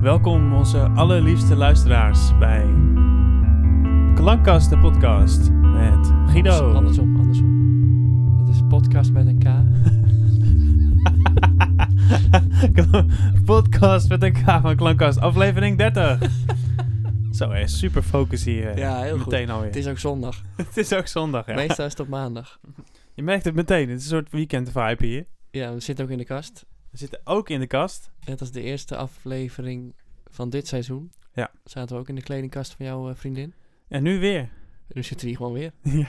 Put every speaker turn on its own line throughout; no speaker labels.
Welkom onze allerliefste luisteraars bij Klankkast, de podcast met Guido.
Andersom, andersom. Dat is podcast met een K.
podcast met een K van Klankkast, aflevering 30. Zo, hè, super focus hier. eh,
Ja, heel goed.
meteen alweer.
Het is ook zondag.
Het is ook zondag, ja.
Meestal is het op maandag.
Je merkt het meteen, het is een soort weekend vibe hier.
Ja, we zitten ook in de kast.
We zitten ook in de kast.
Net als de eerste aflevering van dit seizoen.
Ja.
Zaten we ook in de kledingkast van jouw eh, vriendin.
En nu weer.
En nu zitten we hier gewoon weer.
ja,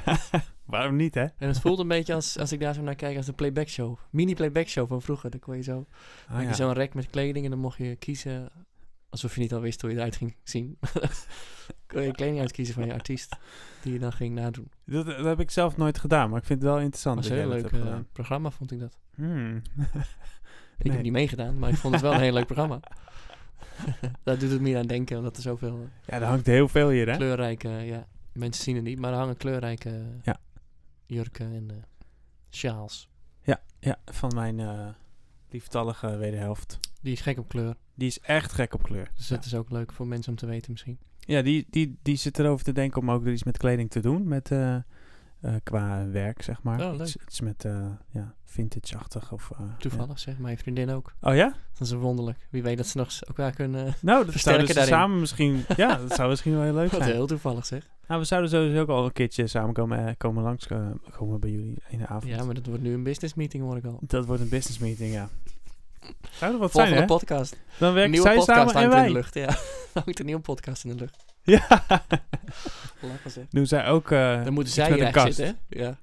waarom niet, hè?
En het voelt een beetje als, als ik daar zo naar kijk, als de playback show. Mini playback show van vroeger. Dan kon je zo,
Ah,
had je
ja.
zo'n rek met kleding en dan mocht je kiezen. Alsof je niet al wist hoe je eruit ging zien. kon je kleding uitkiezen van je artiest. Die je dan ging nadoen.
dat, dat heb ik zelf nooit gedaan, maar ik vind het wel interessant.
Dat was
dat
een eh, heel
jij dat
leuk
hebt
eh,
gedaan.
programma, vond ik dat.
Hmm.
Ik
Nee.
heb niet meegedaan, maar ik vond het wel een heel leuk programma. Daar doet het meer aan denken, omdat er zoveel eh,
Ja, er hangt heel veel hier, hè?
kleurrijke... Ja, mensen zien het niet, maar er hangen kleurrijke eh,
Ja.
jurken en eh, sjaals.
Ja, van mijn eh lieftallige wederhelft.
Die is gek op kleur,
Die is echt gek op kleur.
dus
ja,
dat is ook leuk voor mensen om te weten misschien.
Ja, die, die, die zit erover te denken om ook iets met kleding te doen. Met, eh, eh, qua werk, zeg maar.
Oh, leuk.
Iets, iets met eh, ja, vintage-achtig. Of, eh, ja.
Toevallig, zeg, mijn vriendin ook.
Oh ja?
Dat is wonderlijk. Wie weet dat ze nog s- elkaar kunnen... eh,
Nou, dat
Versterken
zouden ze
daarin.
samen misschien... ja, dat zou misschien wel heel leuk
Wat
zijn.
heel toevallig, zeg.
Nou, we zouden sowieso ook al een keertje samen komen, eh, komen langs eh, komen bij jullie in de avond.
Ja, maar dat wordt nu een business meeting, hoor ik al.
Dat wordt een business meeting, ja. Zou er wat
Volgende
zijn, hè?
podcast.
Dan
Een
werken
nieuwe
zij
podcast
samen en
hangt in de
wij.
lucht, ja. hangt een nieuwe podcast in de lucht.
Ja.
Lachen, zeg.
Doen zij ook... eh,
Dan moeten
iets
zij
met
hier
een
eigenlijk
kast.
zitten, hè? Ja.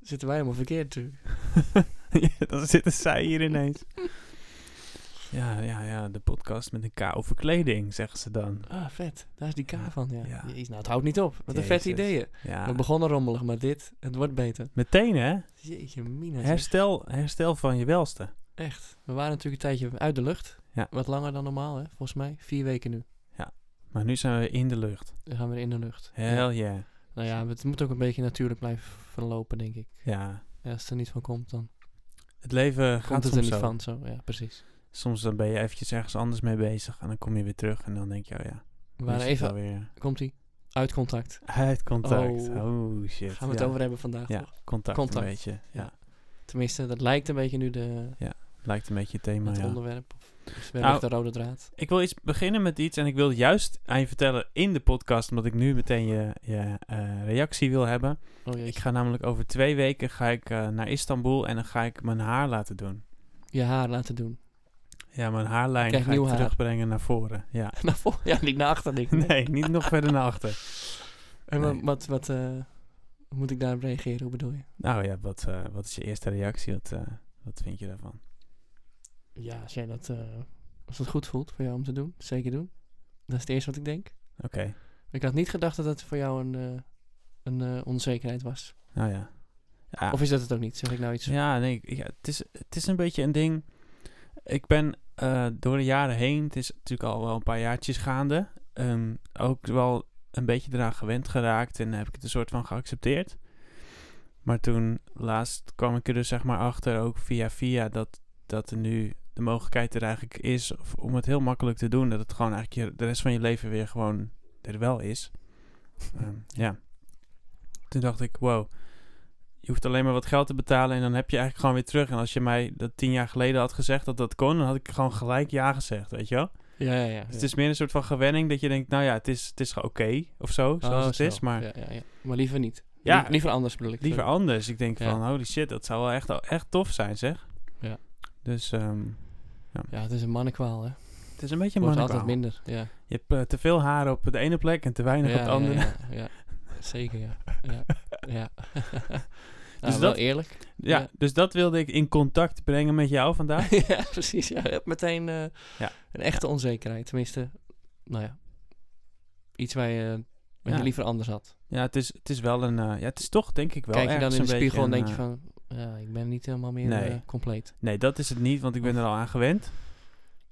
Zitten wij helemaal verkeerd natuurlijk.
Ja, dan zitten zij hier ineens. Ja, ja, ja, de podcast met een K over kleding, zeggen ze dan.
Ah, vet. Daar is die K
Ja,
van, ja.
ja.
Jezus, nou, het houdt niet op. Wat een vette
Jezus.
ideeën. We
Ja,
begonnen rommelig, maar dit, het wordt beter.
meteen hè,
Jeetje, mina. zeg.
herstel, herstel van je welste.
Echt. We waren natuurlijk een tijdje uit de lucht.
Ja.
Wat langer dan normaal, hè? Volgens mij. Vier weken nu.
Maar nu zijn we in de lucht.
Dan gaan we in de lucht. Ja.
Hell yeah.
Nou ja, het moet ook een beetje natuurlijk blijven verlopen, denk ik.
Ja,
Ja, als het er niet van komt, dan
het leven
komt
gaat
het er
soms
niet
zo.
van. Zo, ja, precies.
Soms dan ben je eventjes ergens anders mee bezig en dan kom je weer terug en dan denk je, oh ja,
We
nu
waren
is het
even...
alweer
Komt-ie. Uit contact.
uit contact.
Oh.
Oh, shit.
Gaan we het
ja.
over hebben vandaag,
Ja,
toch?
contact,
Contact.
een beetje. Ja,
Tenminste, dat lijkt een beetje nu de,
lijkt een beetje het thema, Nou
het
ja.
onderwerp. Of is wel
Nou,
echt de rode draad.
Ik wil iets beginnen met iets en ik wil juist aan je vertellen in de podcast, omdat ik nu meteen je, je eh, reactie wil hebben.
Oh jee.
Ik ga namelijk over twee weken ga ik, eh, naar Istanbul en dan ga ik mijn haar laten doen.
Je haar laten doen.
Ja, mijn haarlijn
Krijg
ga ik
nieuw haar.
terugbrengen naar voren. Ja.
Naar voor, ja, niet naar achter, denk ik.
Nee, niet nog verder naar achter.
En wa-
nee.
wat, wat eh, hoe moet ik daarop reageren? Hoe bedoel je?
Nou ja, wat, eh, wat is je eerste reactie? Wat, eh, wat vind je daarvan?
Ja, als jij dat, eh, als dat goed voelt voor jou om te doen, zeker doen. Dat is het eerste wat ik denk.
Oké,
Ik had niet gedacht dat het voor jou een, eh, een eh, onzekerheid was.
nou ja. ja.
Of is dat het ook niet? Zeg ik nou iets?
Ja, nee, ik- ja, het, is, het is een beetje een ding. Ik ben eh, door de jaren heen, het is natuurlijk al wel een paar jaartjes gaande, ehm, ook wel een beetje eraan gewend geraakt en heb ik het een soort van geaccepteerd. Maar toen laatst kwam ik er dus zeg maar achter, ook via via, dat, dat er nu de mogelijkheid er eigenlijk is of- om het heel makkelijk te doen. Dat het gewoon eigenlijk je, de rest van je leven weer gewoon er wel is. Ehm, ja. Toen dacht ik, wow, je hoeft alleen maar wat geld te betalen en dan heb je eigenlijk gewoon weer terug. En als je mij dat tien jaar geleden had gezegd dat dat kon, dan had ik gewoon gelijk ja gezegd, weet je wel?
Ja, ja, ja.
Dus het is meer een soort van gewenning dat je denkt, nou ja, het is, het is gewoon oké of zo,
Ja.
zoals
Oh,
het
zo.
is. Maar
Ja, ja, ja. maar liever niet.
Ja.
Lie- liever anders bedoel ik.
liever anders. Ik denk
Ja.
van, holy shit, dat zou wel echt, echt tof zijn, zeg.
Ja.
Dus ehm,
Ja, het is een mannenkwaal, hè. Het
het is een beetje
wordt
een
altijd minder. Ja.
Je hebt eh, te veel haar op de ene plek en te weinig
ja,
op de andere.
Ja, ja, ja. zeker ja. ja. ja. dus
Dus
wel
dat-
eerlijk.
Ja,
Ja.
dus dat wilde ik in contact brengen met jou vandaag.
ja, precies. Ja, Hup, meteen eh,
Ja.
een echte onzekerheid. Tenminste, nou ja, iets waar je, wat
Ja.
je liever anders had.
Ja, het is, het is wel een... eh, ja, het is toch denk ik wel
Kijk je dan
ergens
in de
een beetje
spiegel en
een,
denk je
eh,
van, ja, ik ben niet helemaal meer
Nee.
eh, compleet.
Nee, dat is het niet, want ik ben er al aan gewend.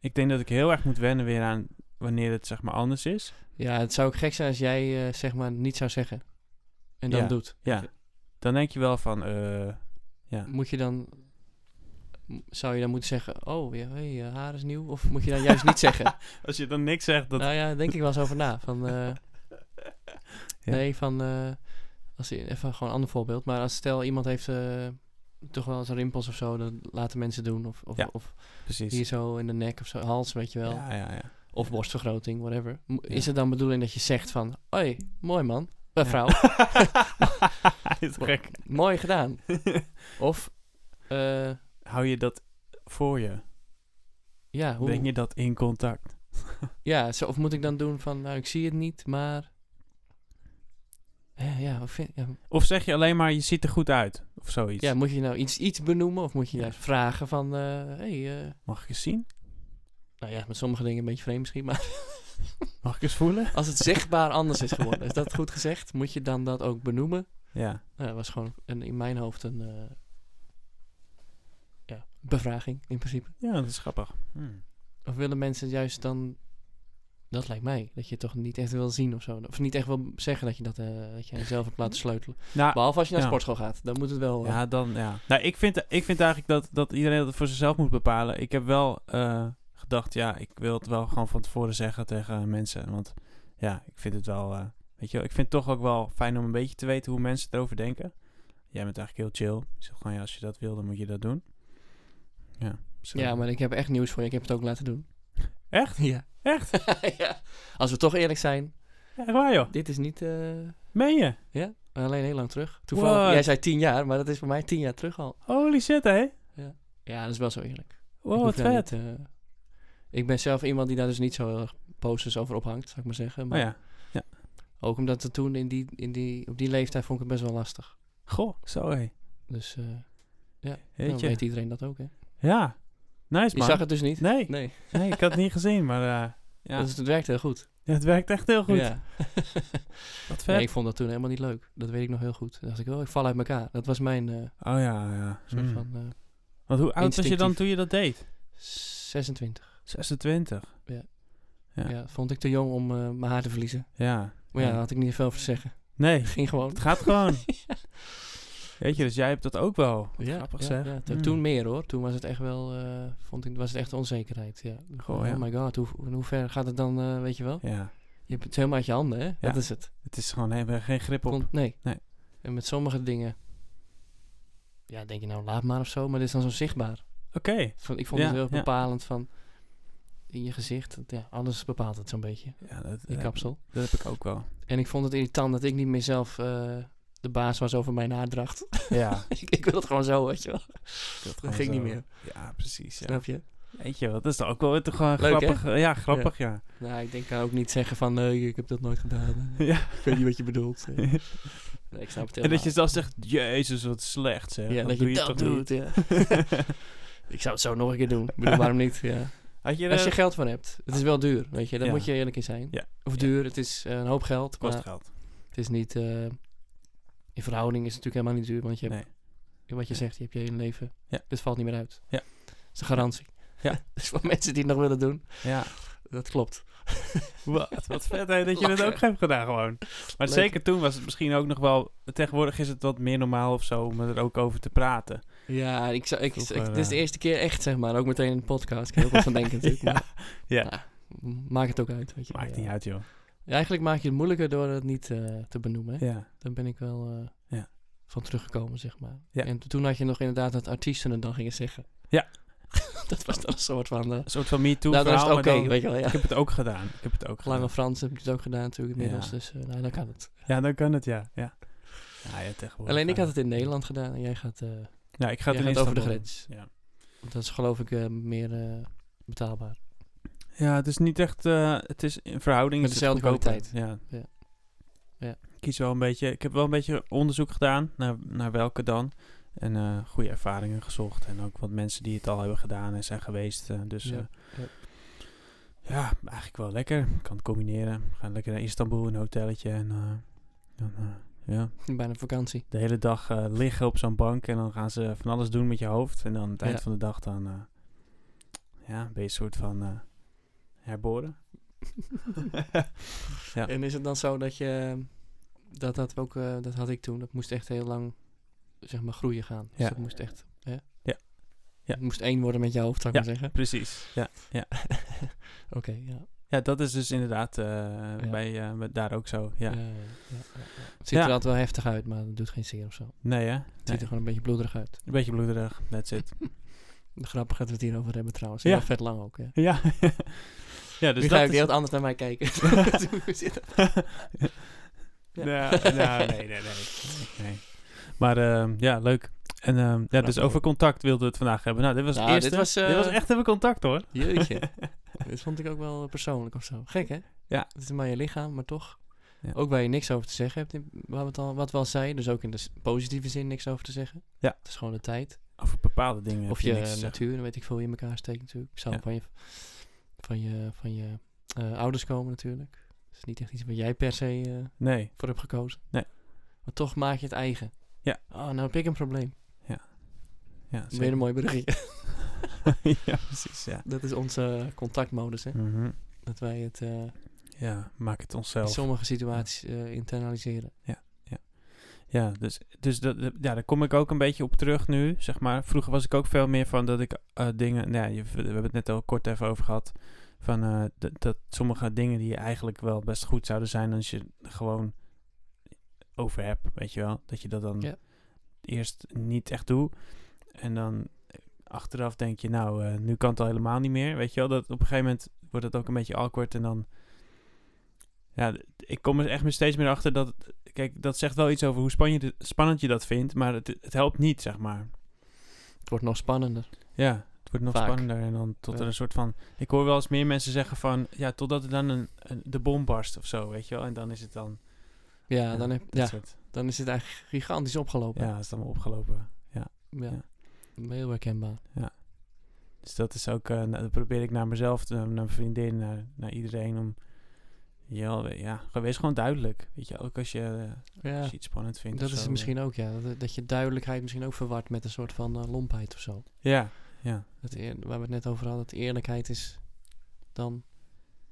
Ik denk dat ik heel erg moet wennen weer aan wanneer het zeg maar anders is.
Ja, het zou ook gek zijn als jij eh, zeg maar niet zou zeggen. En dan
Ja.
doet.
Ja, dan denk je wel van, eh, ja.
Moet je dan m- zou je dan moeten zeggen, oh, ja, hey, je haar is nieuw? Of moet je dan juist niet zeggen?
Als je dan niks zegt, dat...
Nou ja, daar denk ik wel eens over na. Van, eh,
Ja.
Nee, van... eh, als, je- even gewoon een ander voorbeeld. Maar als stel iemand heeft eh, toch wel eens rimpels of zo, dan laten mensen doen. Of, of,
Ja,
of
precies.
hier zo in de nek of zo, hals, weet je wel.
Ja, ja, ja.
Of borstvergroting, whatever. Mo-
Ja.
Is het dan bedoeling dat je zegt van, hoi, mooi man, eh, vrouw,
Is
Wa-
gek.
mooi gedaan. of, eh,
Hou je dat voor je?
ja, hoe...
Breng je dat in contact?
Ja, zo, of moet ik dan doen van, nou, ik zie het niet, maar... Eh, Ja, wat vind, ja,
Of zeg je alleen maar, je ziet er goed uit? Of zoiets.
ja, moet je nou iets, iets benoemen of moet je
Ja.
juist vragen van... eh hey, eh,
Mag ik eens zien?
nou ja, met sommige dingen een beetje vreemd misschien, maar
Mag ik eens voelen?
als het zichtbaar anders is geworden, is dat goed gezegd? Moet je dan dat ook benoemen?
Ja.
Nou, dat was gewoon een, in mijn hoofd een eh, ja, bevraging in principe.
Ja, dat is grappig. Hm.
Of willen mensen juist dan... Dat lijkt mij, dat je het toch niet echt wil zien of zo. Of niet echt wil zeggen dat je dat, eh, dat je zelf hebt laten sleutelen.
Nou,
Behalve als je naar
ja.
sportschool gaat, dan moet het wel... eh,
Ja, dan ja. Nou, ik vind, ik vind eigenlijk dat, dat iedereen dat voor zichzelf moet bepalen. Ik heb wel eh, gedacht, ja, ik wil het wel gewoon van tevoren zeggen tegen mensen. Want ja, ik vind het wel, eh, weet je wel, ik vind het toch ook wel fijn om een beetje te weten hoe mensen erover denken. Jij bent eigenlijk heel chill. Ik zeg gewoon, ja, als je dat wil, dan moet je dat doen. Ja, zo.
Ja, maar ik heb echt nieuws voor je. Ik heb het ook laten doen.
Echt?
Ja.
Echt?
ja. Als we toch eerlijk zijn,
Echt waar, joh.
dit is niet... eh,
Meen je?
ja, alleen heel lang terug. Toevallig,
What?
jij zei tien jaar, maar dat is voor mij tien jaar terug al.
Holy shit, hé.
Ja, dat is wel zo eerlijk. Ik
Wow,
hoef
wat
daar
vet.
niet, eh, ik ben zelf iemand die daar dus niet zo heel erg posters over ophangt, zou ik maar zeggen. Maar
Maar Oh, ja,
ook omdat het toen in die, in die, op die leeftijd vond ik het best wel lastig.
goh, zo hé.
Dus eh dan
Weet je?
Nou, weet iedereen dat ook, hè.
Ja, nice
Je
man.
zag het dus niet?
Nee,
Nee.
nee, ik had het niet gezien, maar eh, ja.
Dus het werkte heel goed.
Ja, het werkt echt heel goed.
Ja.
Wat vet.
Nee, ik vond dat toen helemaal niet leuk. Dat weet ik nog heel goed. Toen dacht ik, oh, ik val uit elkaar. Dat was mijn eh,
Oh ja, ja.
soort
Hmm.
van eh,
Want hoe oud was je dan
instinctief.
toen je dat deed?
26.
26. Ja.
Ja. vond ik te jong om eh, mijn haar te verliezen.
Ja.
Maar
Ja.
ja, daar had ik niet veel voor te zeggen.
Nee,
Ik ging gewoon.
het gaat gewoon. Weet je, dus jij hebt dat ook wel. Wat
Ja,
grappig
ja,
zeg.
ja.
Mm.
Toen- Toen meer hoor. Toen was het echt wel, eh, vond ik, was het echt onzekerheid. Ja.
Goh,
oh
ja.
my god, hoe, hoe ver gaat het dan, eh, weet je wel?
Ja.
Je hebt het helemaal uit je handen, hè? Dat is het.
Het is gewoon helemaal geen grip op.
Kon- nee.
Nee.
En met sommige dingen, ja, denk je nou, laat maar of zo. Maar dit is dan zo zichtbaar.
Oké.
Van- ik vond
Ja,
het heel erg
ja.
bepalend van in je gezicht. dat- Ja, alles bepaalt het zo'n beetje,
Ja, dat,
die
eh,
kapsel.
dat heb ik ook wel.
En ik vond het irritant dat ik niet meer zelf eh, de baas was over mijn haardracht.
Ja.
ik, ik wil het gewoon zo, weet je wel.
gewoon
ging niet
zo.
meer.
Ja, precies. Ja.
Snap je?
Weet je wat, dat is dan ook wel weer toch gewoon
Leuk, hè?
grappig. eh, Ja, grappig, ja.
Nou, ik denk dan ook niet zeggen van, nee, ik heb dat nooit gedaan.
Ja.
ik weet niet wat je bedoelt. nee, ik snap het helemaal.
En dat je dan zegt, jezus, wat slecht zeg.
nou. ja, dat
doe
je dat
toch
doet,
niet?
ja. ik zou het zo nog een keer doen. Ik bedoel, waarom niet? Ja.
Had je
Als je
dat?
geld van hebt. Het is wel duur, weet je. Daar
eh, Ja.
moet je eerlijk in zijn.
Ja.
Of
Ja.
duur, het is eh, een hoop geld. maar-
Kost geld.
Het is niet. eh, in verhouding is het natuurlijk helemaal niet duur, want je hebt,
Nee.
wat je zegt, je hebt je hele leven.
Ja.
Dit valt niet meer uit.
Ja.
Dat is een garantie.
Ja.
dus voor mensen die het nog willen doen,
Ja.
dat klopt.
Wat, wat vet hè, dat je dat
Lachen.
ook hebt gedaan gewoon. Maar
Leuk.
zeker toen was het misschien ook nog wel... Tegenwoordig is het wat meer normaal of zo om er ook over te praten.
Ja, ik zou, ik,
Vroeger,
ik- dit is de
eh,
eerste keer echt, zeg maar. Ook meteen in de podcast. Ik heb er ook wat van denken natuurlijk.
ja,
maar nou, maakt het ook uit, weet je.
maakt
Ja.
niet uit joh.
Ja, eigenlijk maak je het moeilijker door het niet eh, te benoemen. Hè?
Ja,
Daar ben ik wel eh,
Ja.
van teruggekomen, zeg maar.
Ja.
En toen had je nog inderdaad dat artiesten het dan gingen zeggen.
Ja.
dat was dan een soort van... eh,
een soort van me-too
nou, dan is
verhaal.
het oké,
maar dan-
weet je wel, ja.
Ik heb het ook gedaan. Ik heb het ook gedaan.
Lange Frans heb ik het ook gedaan natuurlijk inmiddels,
Ja.
dus eh, nou, dan kan het.
Ja, dan kan het ja. ja. Ja, ja, tegenwoordig.
Alleen ik had
eh,
het in Nederland gedaan en jij gaat, eh,
Ja, ik ga het
jij
in
gaat over de
Istanbul.
grens.
Ja.
Want Dat is geloof ik eh, meer eh, betaalbaar.
Ja, het is niet echt... eh, het is in verhouding...
Met
is het
dezelfde
goedkoper. Ja.
Ja. Ja.
Ik Kies wel een beetje... Ik heb wel een beetje onderzoek gedaan naar, naar welke dan. En eh, goede ervaringen gezocht. En ook wat mensen die het al hebben gedaan en zijn geweest. eh, dus
Ja,
eh,
ja.
ja, eigenlijk wel lekker. Kan het combineren. We gaan lekker naar Istanbul, een hotelletje. En eh, dan, eh, ja,
Bijna vakantie.
de hele dag eh, liggen op zo'n bank. En dan gaan ze van alles doen met je hoofd. En dan aan het eind
Ja.
van de dag dan... eh, ja, ben je een soort van eh, herboren. Ja.
En is het dan zo dat je, dat dat ook, eh, dat had ik toen, dat moest echt heel lang, zeg maar, groeien gaan. Dus
Ja.
dat moest echt, hè?
Ja. Ja.
Het moest één worden met jouw hoofd, zou ik maar zeggen.
Precies. Ja,
Oké, ja.
ja dat is dus inderdaad eh, bij, eh, met daar ook zo. Ja.
Ja, ja, ja, ja, ja. Het ziet
Ja.
er altijd wel heftig uit, maar het doet geen zeer of zo. Het
Nee, hè?
ziet
Nee.
er gewoon een beetje bloederig uit.
Een beetje bloederig. That's it.
Grappig dat we het hierover hebben trouwens.
Ja.
Ja. vet lang ook,
ja. ja,
ja.
dus
nu
dat
ga ik
is...
heel anders naar mij kijken. Hoe zit dat? Ja.
Nou, nou, nee, nee, nee. nee. Maar ehm, ja, leuk. En ehm, ja, dus
Grappig.
over contact wilden we het vandaag hebben. Nou, dit was
Nou,
het eerste.
dit was, eh,
echt even contact, hoor.
Jeetje. Dit vond ik ook wel eh, persoonlijk of zo. Gek, hè?
Ja.
Het is maar je lichaam, maar toch.
Ja.
Ook waar je niks over te zeggen hebt, in- waar we het al, wat we al zeiden. Dus ook in de s- positieve zin niks over te zeggen.
Ja.
Het is gewoon de tijd.
Over bepaalde dingen heb
of je,
niks te zeggen.
natuur, dan weet ik veel, hoe je in elkaar steekt natuurlijk. Zou
Ja.
van je, van je, van je eh, ouders komen natuurlijk. Dat is niet echt iets waar jij per se eh,
Nee,
voor hebt gekozen.
Nee.
Maar toch maak je het eigen.
Ja.
Oh, nou heb ik een probleem.
ja,
Weer een mooi berichtje.
zeker. ja, precies, ja.
Dat is onze eh, contactmodus, hè?
Mhm.
Dat wij het eh,
Ja, maak het
in
onszelf.
sommige situaties eh, internaliseren.
Ja, dus, dus dat, dat- ja, daar kom ik ook een beetje op terug nu, zeg maar. Vroeger was ik ook veel meer van dat ik eh, dingen... Nou, ja, je, we hebben het net al kort even over gehad. Van eh, dat- dat sommige dingen die eigenlijk wel best goed zouden zijn... als je er gewoon over hebt, weet je wel. Dat je dat dan
Ja.
eerst niet echt doet. En dan achteraf denk je, nou, eh, nu kan het al helemaal niet meer. Weet je wel, dat op een gegeven moment wordt het ook een beetje awkward. En dan, ja, d- ik kom er echt me steeds meer achter dat, kijk, dat zegt wel iets over hoe span je de- spannend je dat vindt. Maar het, het helpt niet, zeg maar.
Het wordt nog spannender.
Ja, het wordt nog
Vaak.
spannender. En dan tot er
Ja.
een soort van, ik hoor wel eens meer mensen zeggen van, ja, totdat er dan een, een- de bom barst of zo, weet je wel. En dan is het dan,
Ja,
Ja,
dan, heb,
dat
ja,
soort,
dan is het eigenlijk gigantisch opgelopen.
ja, is dan wel opgelopen.
Ja.
ja.
Heel herkenbaar.
Dus dat is ook, eh, nou, dat probeer ik naar mezelf, te- naar mijn vriendin, naar, naar iedereen om. Ja, we- ja, gewoon- wees gewoon duidelijk. Weet je, ook als je, eh,
Ja,
als je iets spannend vindt.
dat
of
is
zo.
het misschien ook, ja. Dat, dat je duidelijkheid misschien ook verward met een soort van eh, lompheid of zo.
Ja, ja,
Dat eer- waar we het net over hadden, dat eerlijkheid is dan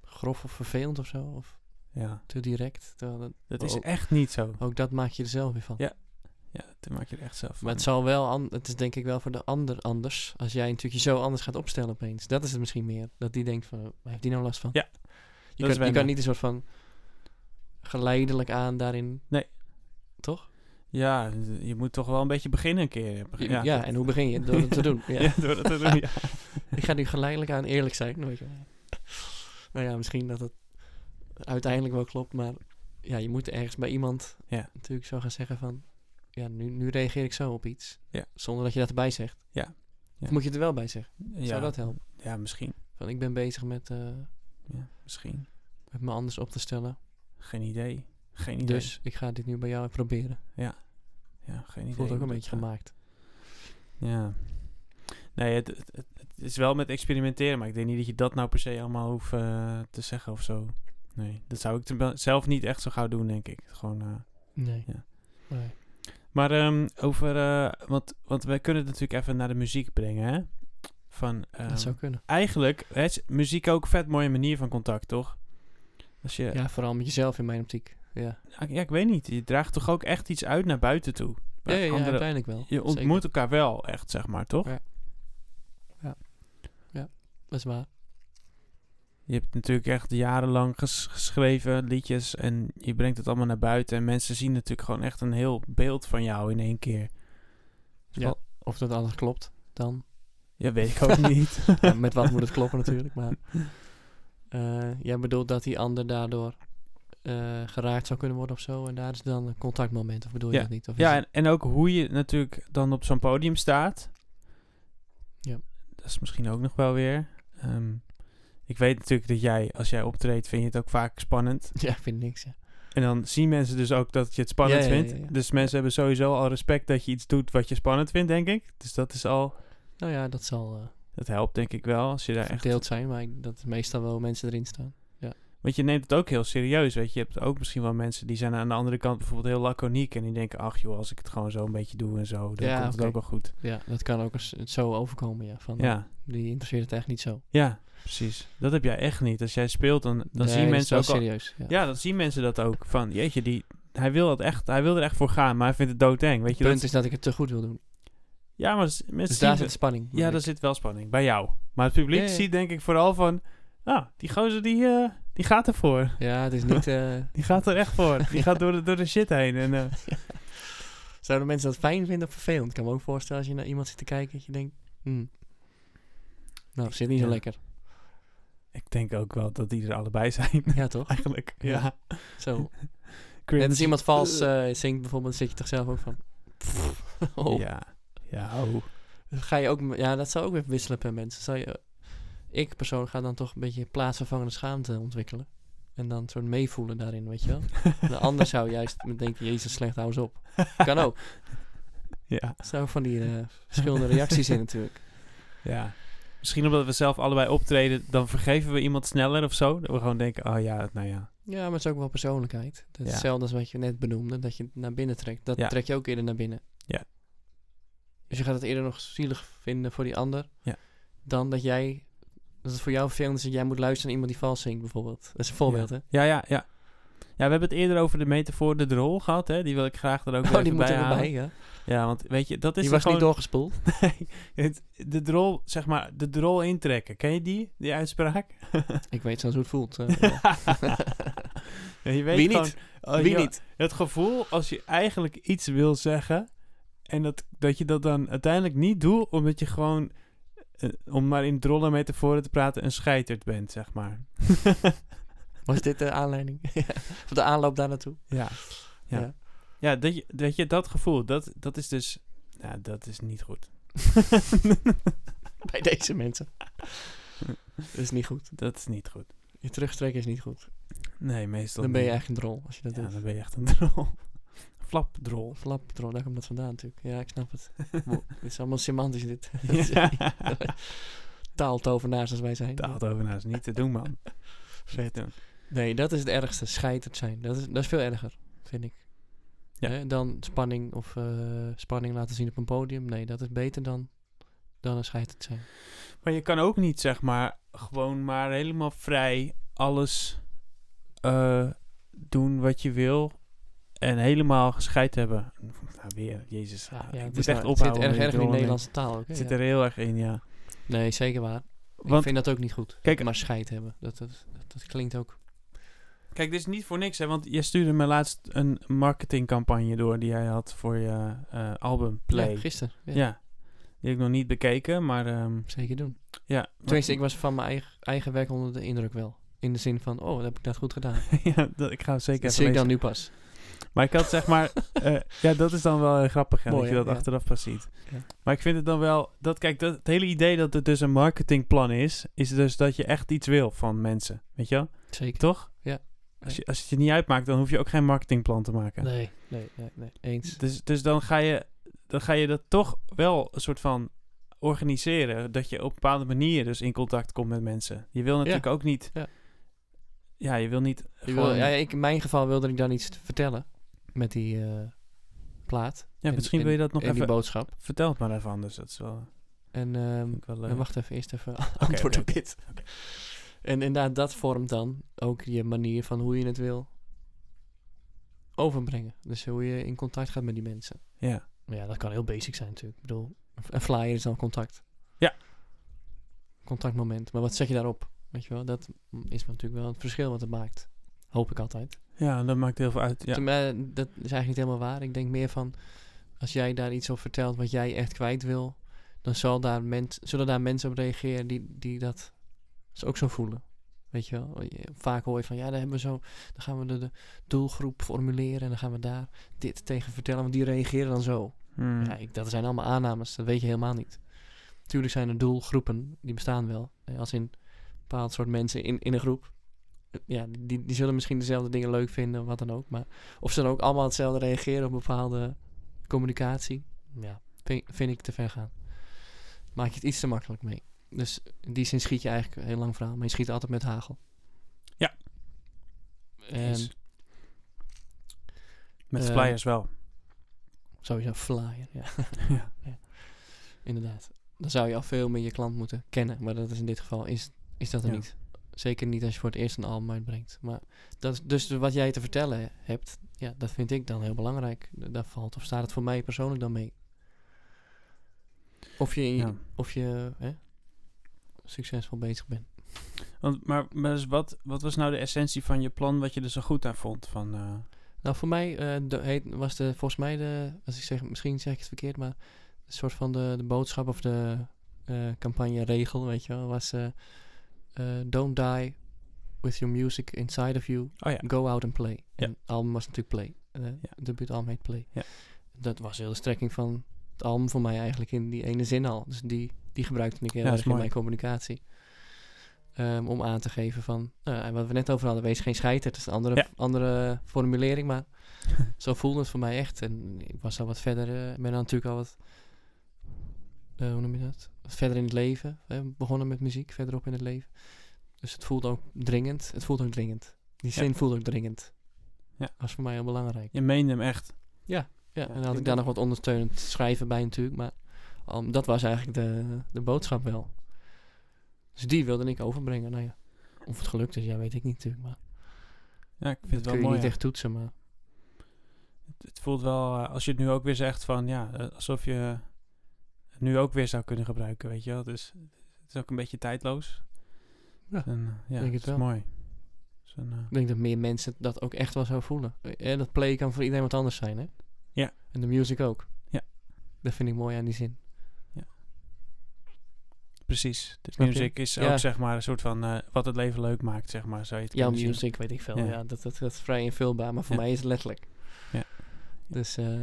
grof of vervelend of zo. Of
ja.
te direct. Terwijl dat-
Dat is
Oh.
echt niet zo.
ook dat maak je er zelf weer van.
Ja. Ja, dat maak je er echt zelf.
Maar het,
van.
zal wel an- het is denk ik wel voor de ander anders. Als jij natuurlijk je zo anders gaat opstellen opeens. Dat is het misschien meer. Dat die denkt van, waar heeft die nou last van?
Ja, is eh,
Je, kan, je
wennen.
kan niet een soort van geleidelijk aan daarin.
Nee.
Toch?
Ja, je moet toch wel een beetje beginnen een keer. eh,
Ja, en hoe begin je? Door het te doen. Ja.
Ja, door dat te doen, ja.
Ik ga nu geleidelijk aan eerlijk zijn. Weet je. wel. Nou ja, misschien dat het uiteindelijk wel klopt. Maar ja, je moet ergens bij iemand
Ja.
natuurlijk zo gaan zeggen van... Ja, nu, nu reageer ik zo op iets.
Ja.
Zonder dat je dat erbij zegt.
Ja. Ja.
Of moet je het er wel bij zeggen?
Ja,
Zou dat helpen?
Ja, misschien.
Van ik ben bezig met, eh,
Ja, misschien.
met me anders op te stellen.
Geen idee. Geen idee.
Dus ik ga dit nu bij jou even proberen.
ja, geen idee.
Voelt
hoe
ook een
dat
beetje
gaat.
gemaakt.
Ja. Nee, het, het, het- het is wel met experimenteren, maar ik denk niet dat je dat nou per se allemaal hoeft eh, te zeggen of zo. Nee, dat zou ik te- wel- zelf niet echt zo gauw doen, denk ik. Gewoon, eh.
Nee.
Ja.
Nee.
Maar ehm, over, eh, want, want wij kunnen het natuurlijk even naar de muziek brengen, hè? Van, ehm,
dat zou kunnen.
Eigenlijk hè, is muziek ook een vet mooie manier van contact, toch? Als je, ja.
Ja, vooral met jezelf in mijn optiek. Ja,
ja, ik weet niet. Je draagt toch ook echt iets uit naar buiten toe?
ja,
Waar
ja,
anderen-
uiteindelijk wel.
je ontmoet
Zeker.
elkaar wel echt, zeg maar, toch?
Ja. Dat is waar.
Je hebt natuurlijk echt jarenlang ges- geschreven liedjes en je brengt het allemaal naar buiten. En mensen zien natuurlijk gewoon echt een heel beeld van jou in één keer.
Ja.
Wel-
Of dat alles klopt, dan.
Ja, weet ik ook niet.
Ja, met wat moet het kloppen natuurlijk, maar... eh, jij bedoelt dat die ander daardoor eh, geraakt zou kunnen worden of zo. En daar is dan een contactmoment, of bedoel je
Ja.
dat niet? Of is
Ja,
het-
en, en ook hoe je natuurlijk dan op zo'n podium staat.
Ja.
Dat is misschien ook nog wel weer. Ehm, ik weet natuurlijk dat jij, als jij optreedt, vind je het ook vaak spannend.
ja, ik vind niks, ja.
En dan zien mensen dus ook dat je het spannend
Ja, ja, ja,
vindt.
ja.
Dus mensen hebben sowieso al respect dat je iets doet wat je spannend vindt, denk ik. Dus dat is al,
Nou ja, dat zal... eh,
dat helpt denk ik wel. Als je daar echt
verdeeld zijn, maar ik- dat is meestal wel hoe mensen erin staan.
Want je neemt het ook heel serieus, weet je. Je hebt ook misschien wel mensen die zijn aan de andere kant bijvoorbeeld heel laconiek. En die denken, ach joh, als ik het gewoon zo een beetje doe en zo, dan
Ja,
komt het
oké.
ook wel goed.
Ja, dat kan ook eens zo overkomen, ja. Van,
Ja,
Die interesseert het echt niet zo.
ja, precies. Dat heb jij echt niet. Als jij speelt, dan, dan
Nee,
zien
dat is
mensen
wel
ook al-
serieus. ja.
Ja, dan zien mensen dat ook. Van, jeetje, die, hij, wil dat echt, hij wil er echt voor gaan, maar hij vindt het doodeng, weet je.
het punt
dat,
is dat ik het te goed wil doen.
Ja, maar s- mensen
Dus
zien
daar
we-
zit spanning.
Ja, daar
dat
zit wel spanning. Bij jou. Maar het publiek
Ja, ja.
ziet denk ik vooral van... Ah, die gozer die, eh, die gaat ervoor.
ja, het is niet... eh,
Die gaat er echt voor. Die gaat door de, door de shit heen. En, eh,
zouden mensen dat fijn vinden of vervelend? Ik kan me ook voorstellen als je naar iemand zit te kijken dat je denkt... hmm, Nou, zit niet zo
Ja.
lekker.
ik denk ook wel dat die er allebei zijn.
Ja, toch?
Eigenlijk. Ja.
Ja. Zo.
Cringe.
Net als iemand vals eh, zingt bijvoorbeeld, zit je toch zelf ook van... pff, oh.
Ja. Ja, oh.
Ga je ook, ja, dat zou ook weer wisselen per mensen. Zou je, eh, ik persoonlijk ga dan toch een beetje plaatsvervangende schaamte ontwikkelen. En dan soort meevoelen daarin, weet je wel. De ander zou juist met denken, jezus, slecht, hou eens op. Kan ook.
Ja.
Er zijn ook van die eh, verschillende reacties in natuurlijk.
Ja. Misschien omdat we zelf allebei optreden, dan vergeven we iemand sneller of zo. Dat we gewoon denken, oh ja, nou ja.
Ja, maar het is ook wel persoonlijkheid. Dat is
Ja.
hetzelfde als wat je net benoemde, dat je het naar binnen trekt. Dat
Ja.
trek je ook eerder naar binnen.
Ja.
Dus je gaat het eerder nog zielig vinden voor die ander.
Ja.
Dan dat jij, dat het voor jou vervelend is dat jij moet luisteren naar iemand die vals zingt bijvoorbeeld. Dat is een voorbeeld, hè?
Ja, ja, ja. Ja, we hebben het eerder over de metafoor de drol gehad, hè. Die wil ik graag er ook weer
Oh, die
even
moet
bij
er weer
halen.
bij, ja.
Ja, want weet je, dat is
Die
er
was
gewoon...
niet doorgespoeld.
Nee, het- de drol, zeg maar, de drol intrekken. Ken je die, die uitspraak?
Ik weet zelfs hoe het voelt.
Oh,
eh, ja.
Ja, je weet
Wie
gewoon-
niet?
oh,
Wie
ja,
niet?
Het gevoel als je eigenlijk iets wil zeggen en dat, dat je dat dan uiteindelijk niet doet, omdat je gewoon, eh, om maar in drollen metaforen te praten, een scheiterd bent, zeg maar.
Was dit de aanleiding? Ja. of de aanloop daar naartoe?
Ja, Ja. ja dat, je, dat je dat gevoel, dat, dat is dus, nou, dat is niet goed.
Bij deze mensen. dat is niet goed.
Dat is niet goed.
Je terugtrekken is niet goed.
Nee, meestal
Dan ben je
niet.
echt een drol als je dat
Ja,
doet.
dan ben je echt een drol. Flapdrol.
Flap, drol, daar komt dat vandaan natuurlijk. Ja, ik snap het. Wow, dit is allemaal semantisch dit.
Ja.
Taaltovenaars als wij zijn.
Daalt over naast niet te doen, man. Vet doen.
Nee, dat is het ergste. Scheiterd zijn. Dat is, dat is veel erger, vind ik.
Ja.
Hè, Dan spanning of eh, spanning laten zien op een podium. Nee, dat is beter dan, dan een scheiterd zijn.
Maar je kan ook niet, zeg maar, gewoon maar helemaal vrij alles eh, doen wat je wil. En helemaal gescheid hebben. Nou, weer, jezus.
Ja,
Ah,
ja,
ik
het
moet
is
echt
nou-
ophouden.
Het zit erg
met
erg in de
rollen.
Nederlandse taal ook. hè,
Het zit
ja.
er heel erg in, ja.
Nee, zeker waar. ik
Want,
vind dat ook niet goed.
kijk,
maar scheid hebben, dat, dat, dat, dat klinkt ook.
kijk, dit is niet voor niks, hè. Want jij stuurde me laatst een marketingcampagne door die jij had voor je eh, album Play.
Ja, gisteren. Ja,
Ja. Die heb ik nog niet bekeken, maar... ehm,
Zeker doen.
ja,
Tenminste, ik was van mijn eigen, eigen werk onder de indruk wel. In de zin van, oh, dat heb ik dat goed gedaan.
ja, dat, ik ga het zeker
Dat
even
zie ik
lezen.
dan nu pas.
Maar ik had zeg maar... eh, ja, dat is dan wel heel grappig, hè,
Mooi,
dat je
hè?
dat
Ja.
achteraf pas ziet.
Ja.
Maar ik vind het dan wel... Dat, kijk, dat, het hele idee dat het dus een marketingplan is... is dus dat je echt iets wil van mensen. Weet je wel?
Zeker.
Toch?
Ja.
Als, je, als het je niet uitmaakt, dan hoef je ook geen marketingplan te maken.
Nee, nee, nee, nee. Eens.
Dus, dus dan, ga je, dan ga je dat toch wel een soort van organiseren. Dat je op een bepaalde manier dus in contact komt met mensen. Je wil natuurlijk ook niet...
Ja.
Ja, je wil niet...
Ik wil,
gewoon-
ja,
ja,
ik, in mijn geval wilde ik dan iets vertellen met die eh, plaat. en-
misschien
en-
wil je dat nog
en die
even...
boodschap.
Vertel het maar even anders. Dat is wel,
En ehm,
vind ik wel leuk.
En wacht even, eerst even antwoord
oké,
op dit. En inderdaad, dat vormt dan ook je manier van hoe je het wil overbrengen. Dus hoe je in contact gaat met die mensen.
Ja.
Maar ja, dat kan heel basic zijn natuurlijk. Ik bedoel, een f- een flyer is dan contact.
Ja.
Contactmoment. Maar wat zeg je daarop? Weet je wel, dat m- is natuurlijk wel het verschil wat het maakt. Hoop ik altijd.
Ja, dat maakt heel veel uit. Ja,
Toen, eh, dat is eigenlijk niet helemaal waar. Ik denk meer van, als jij daar iets over vertelt wat jij echt kwijt wil, dan zal daar mens, zullen daar mensen op reageren die, die dat ze ook zo voelen. Weet je wel, Oh, Je- vaak hoor je van ja, dan hebben we zo, dan gaan we de, de doelgroep formuleren en dan gaan we daar dit tegen vertellen, want die reageren dan zo.
Hmm.
Ja, ik, dat zijn allemaal aannames, dat weet je helemaal niet. Tuurlijk zijn er doelgroepen, die bestaan wel. Eh, Als in een bepaald soort mensen in, in een groep. Eh, Ja, die, die zullen misschien dezelfde dingen leuk vinden, wat dan ook. Maar of ze dan ook allemaal hetzelfde reageren op bepaalde communicatie, ja, vind, vind ik te ver gaan. Maak je het iets te makkelijk mee. Dus in die zin schiet je eigenlijk een heel lang verhaal, maar je schiet altijd met hagel.
Ja.
En
Eens. Met
eh,
flyers wel.
Sowieso flyer, ja.
Ja.
Ja. Inderdaad. Dan zou je al veel meer je klant moeten kennen. Maar dat is in dit geval, is, is dat er
Ja.
niet. Zeker niet als je voor het eerst een album uitbrengt. Maar dat is dus wat jij te vertellen hebt, ja, dat vind ik dan heel belangrijk. D- Daar valt of staat het voor mij persoonlijk dan mee. Of je,
Ja.
of je hè, succesvol bezig bent.
Want, maar maar dus wat, wat was nou de essentie van je plan wat je er zo goed aan vond? Van, eh,
Nou, voor mij eh, de- heet- was de, volgens mij de, als ik zeg, misschien zeg ik het verkeerd, maar een soort van de, de boodschap of de eh campagne regel, weet je wel, was eh, eh, don't die with your music inside of you,
oh ja,
go out and play.
Ja.
En het album was natuurlijk Play. Eh
Ja.
Het debuutalbum heet Play.
Ja.
Dat was heel de strekking van het album voor mij eigenlijk in die ene zin al. Dus die, die gebruikte ik heel
Ja, dat
erg
is
in
mooi.
mijn communicatie. Ehm, om aan te geven van, nou, en wat we net over hadden, wees geen scheiter. Het is een andere,
Ja.
andere formulering, maar zo voelde het voor mij echt. En ik was al wat verder, eh, ben dan natuurlijk al wat, eh, hoe noem je dat? Wat verder in het leven. Hè? Begonnen met muziek, verderop in het leven. Dus het voelde ook dringend. Het voelde ook dringend. Die
Ja.
zin voelde ook dringend.
Ja.
was voor mij heel belangrijk.
je meende hem echt.
Ja,
Ja,
en dan had
ik
ik daar
denk
nog wat ondersteunend schrijven bij natuurlijk. Maar ehm, dat was eigenlijk de, de boodschap wel. Dus die wilde ik overbrengen. Nou ja, of het gelukt is, ja, weet ik niet natuurlijk. Maar
Ja, ik vind het
dat
wel
kun je
mooi.
niet
ja.
echt toetsen. Maar
Het- Het voelt wel, eh, als je het nu ook weer zegt, van ja, eh, alsof je het nu ook weer zou kunnen gebruiken, weet je wel. Dus het is ook een beetje tijdloos.
Ja,
En, eh, ja,
denk het
het is
wel.
mooi. Dus een, eh,
ik denk dat meer mensen dat ook echt wel zo voelen. En dat play kan voor iedereen wat anders zijn, hè?
Ja.
En de music ook.
Ja.
Dat vind ik mooi aan die zin.
precies. Dus
Snap je?
music is
Ja.
ook zeg maar een soort van eh, wat het leven leuk maakt, zeg maar. Zou je het
Jouw
kunnen zien.
music, weet ik veel. Ja,
Ja.
dat, dat, dat is vrij invulbaar, maar voor
Ja.
mij is het letterlijk.
Ja.
Dus eh,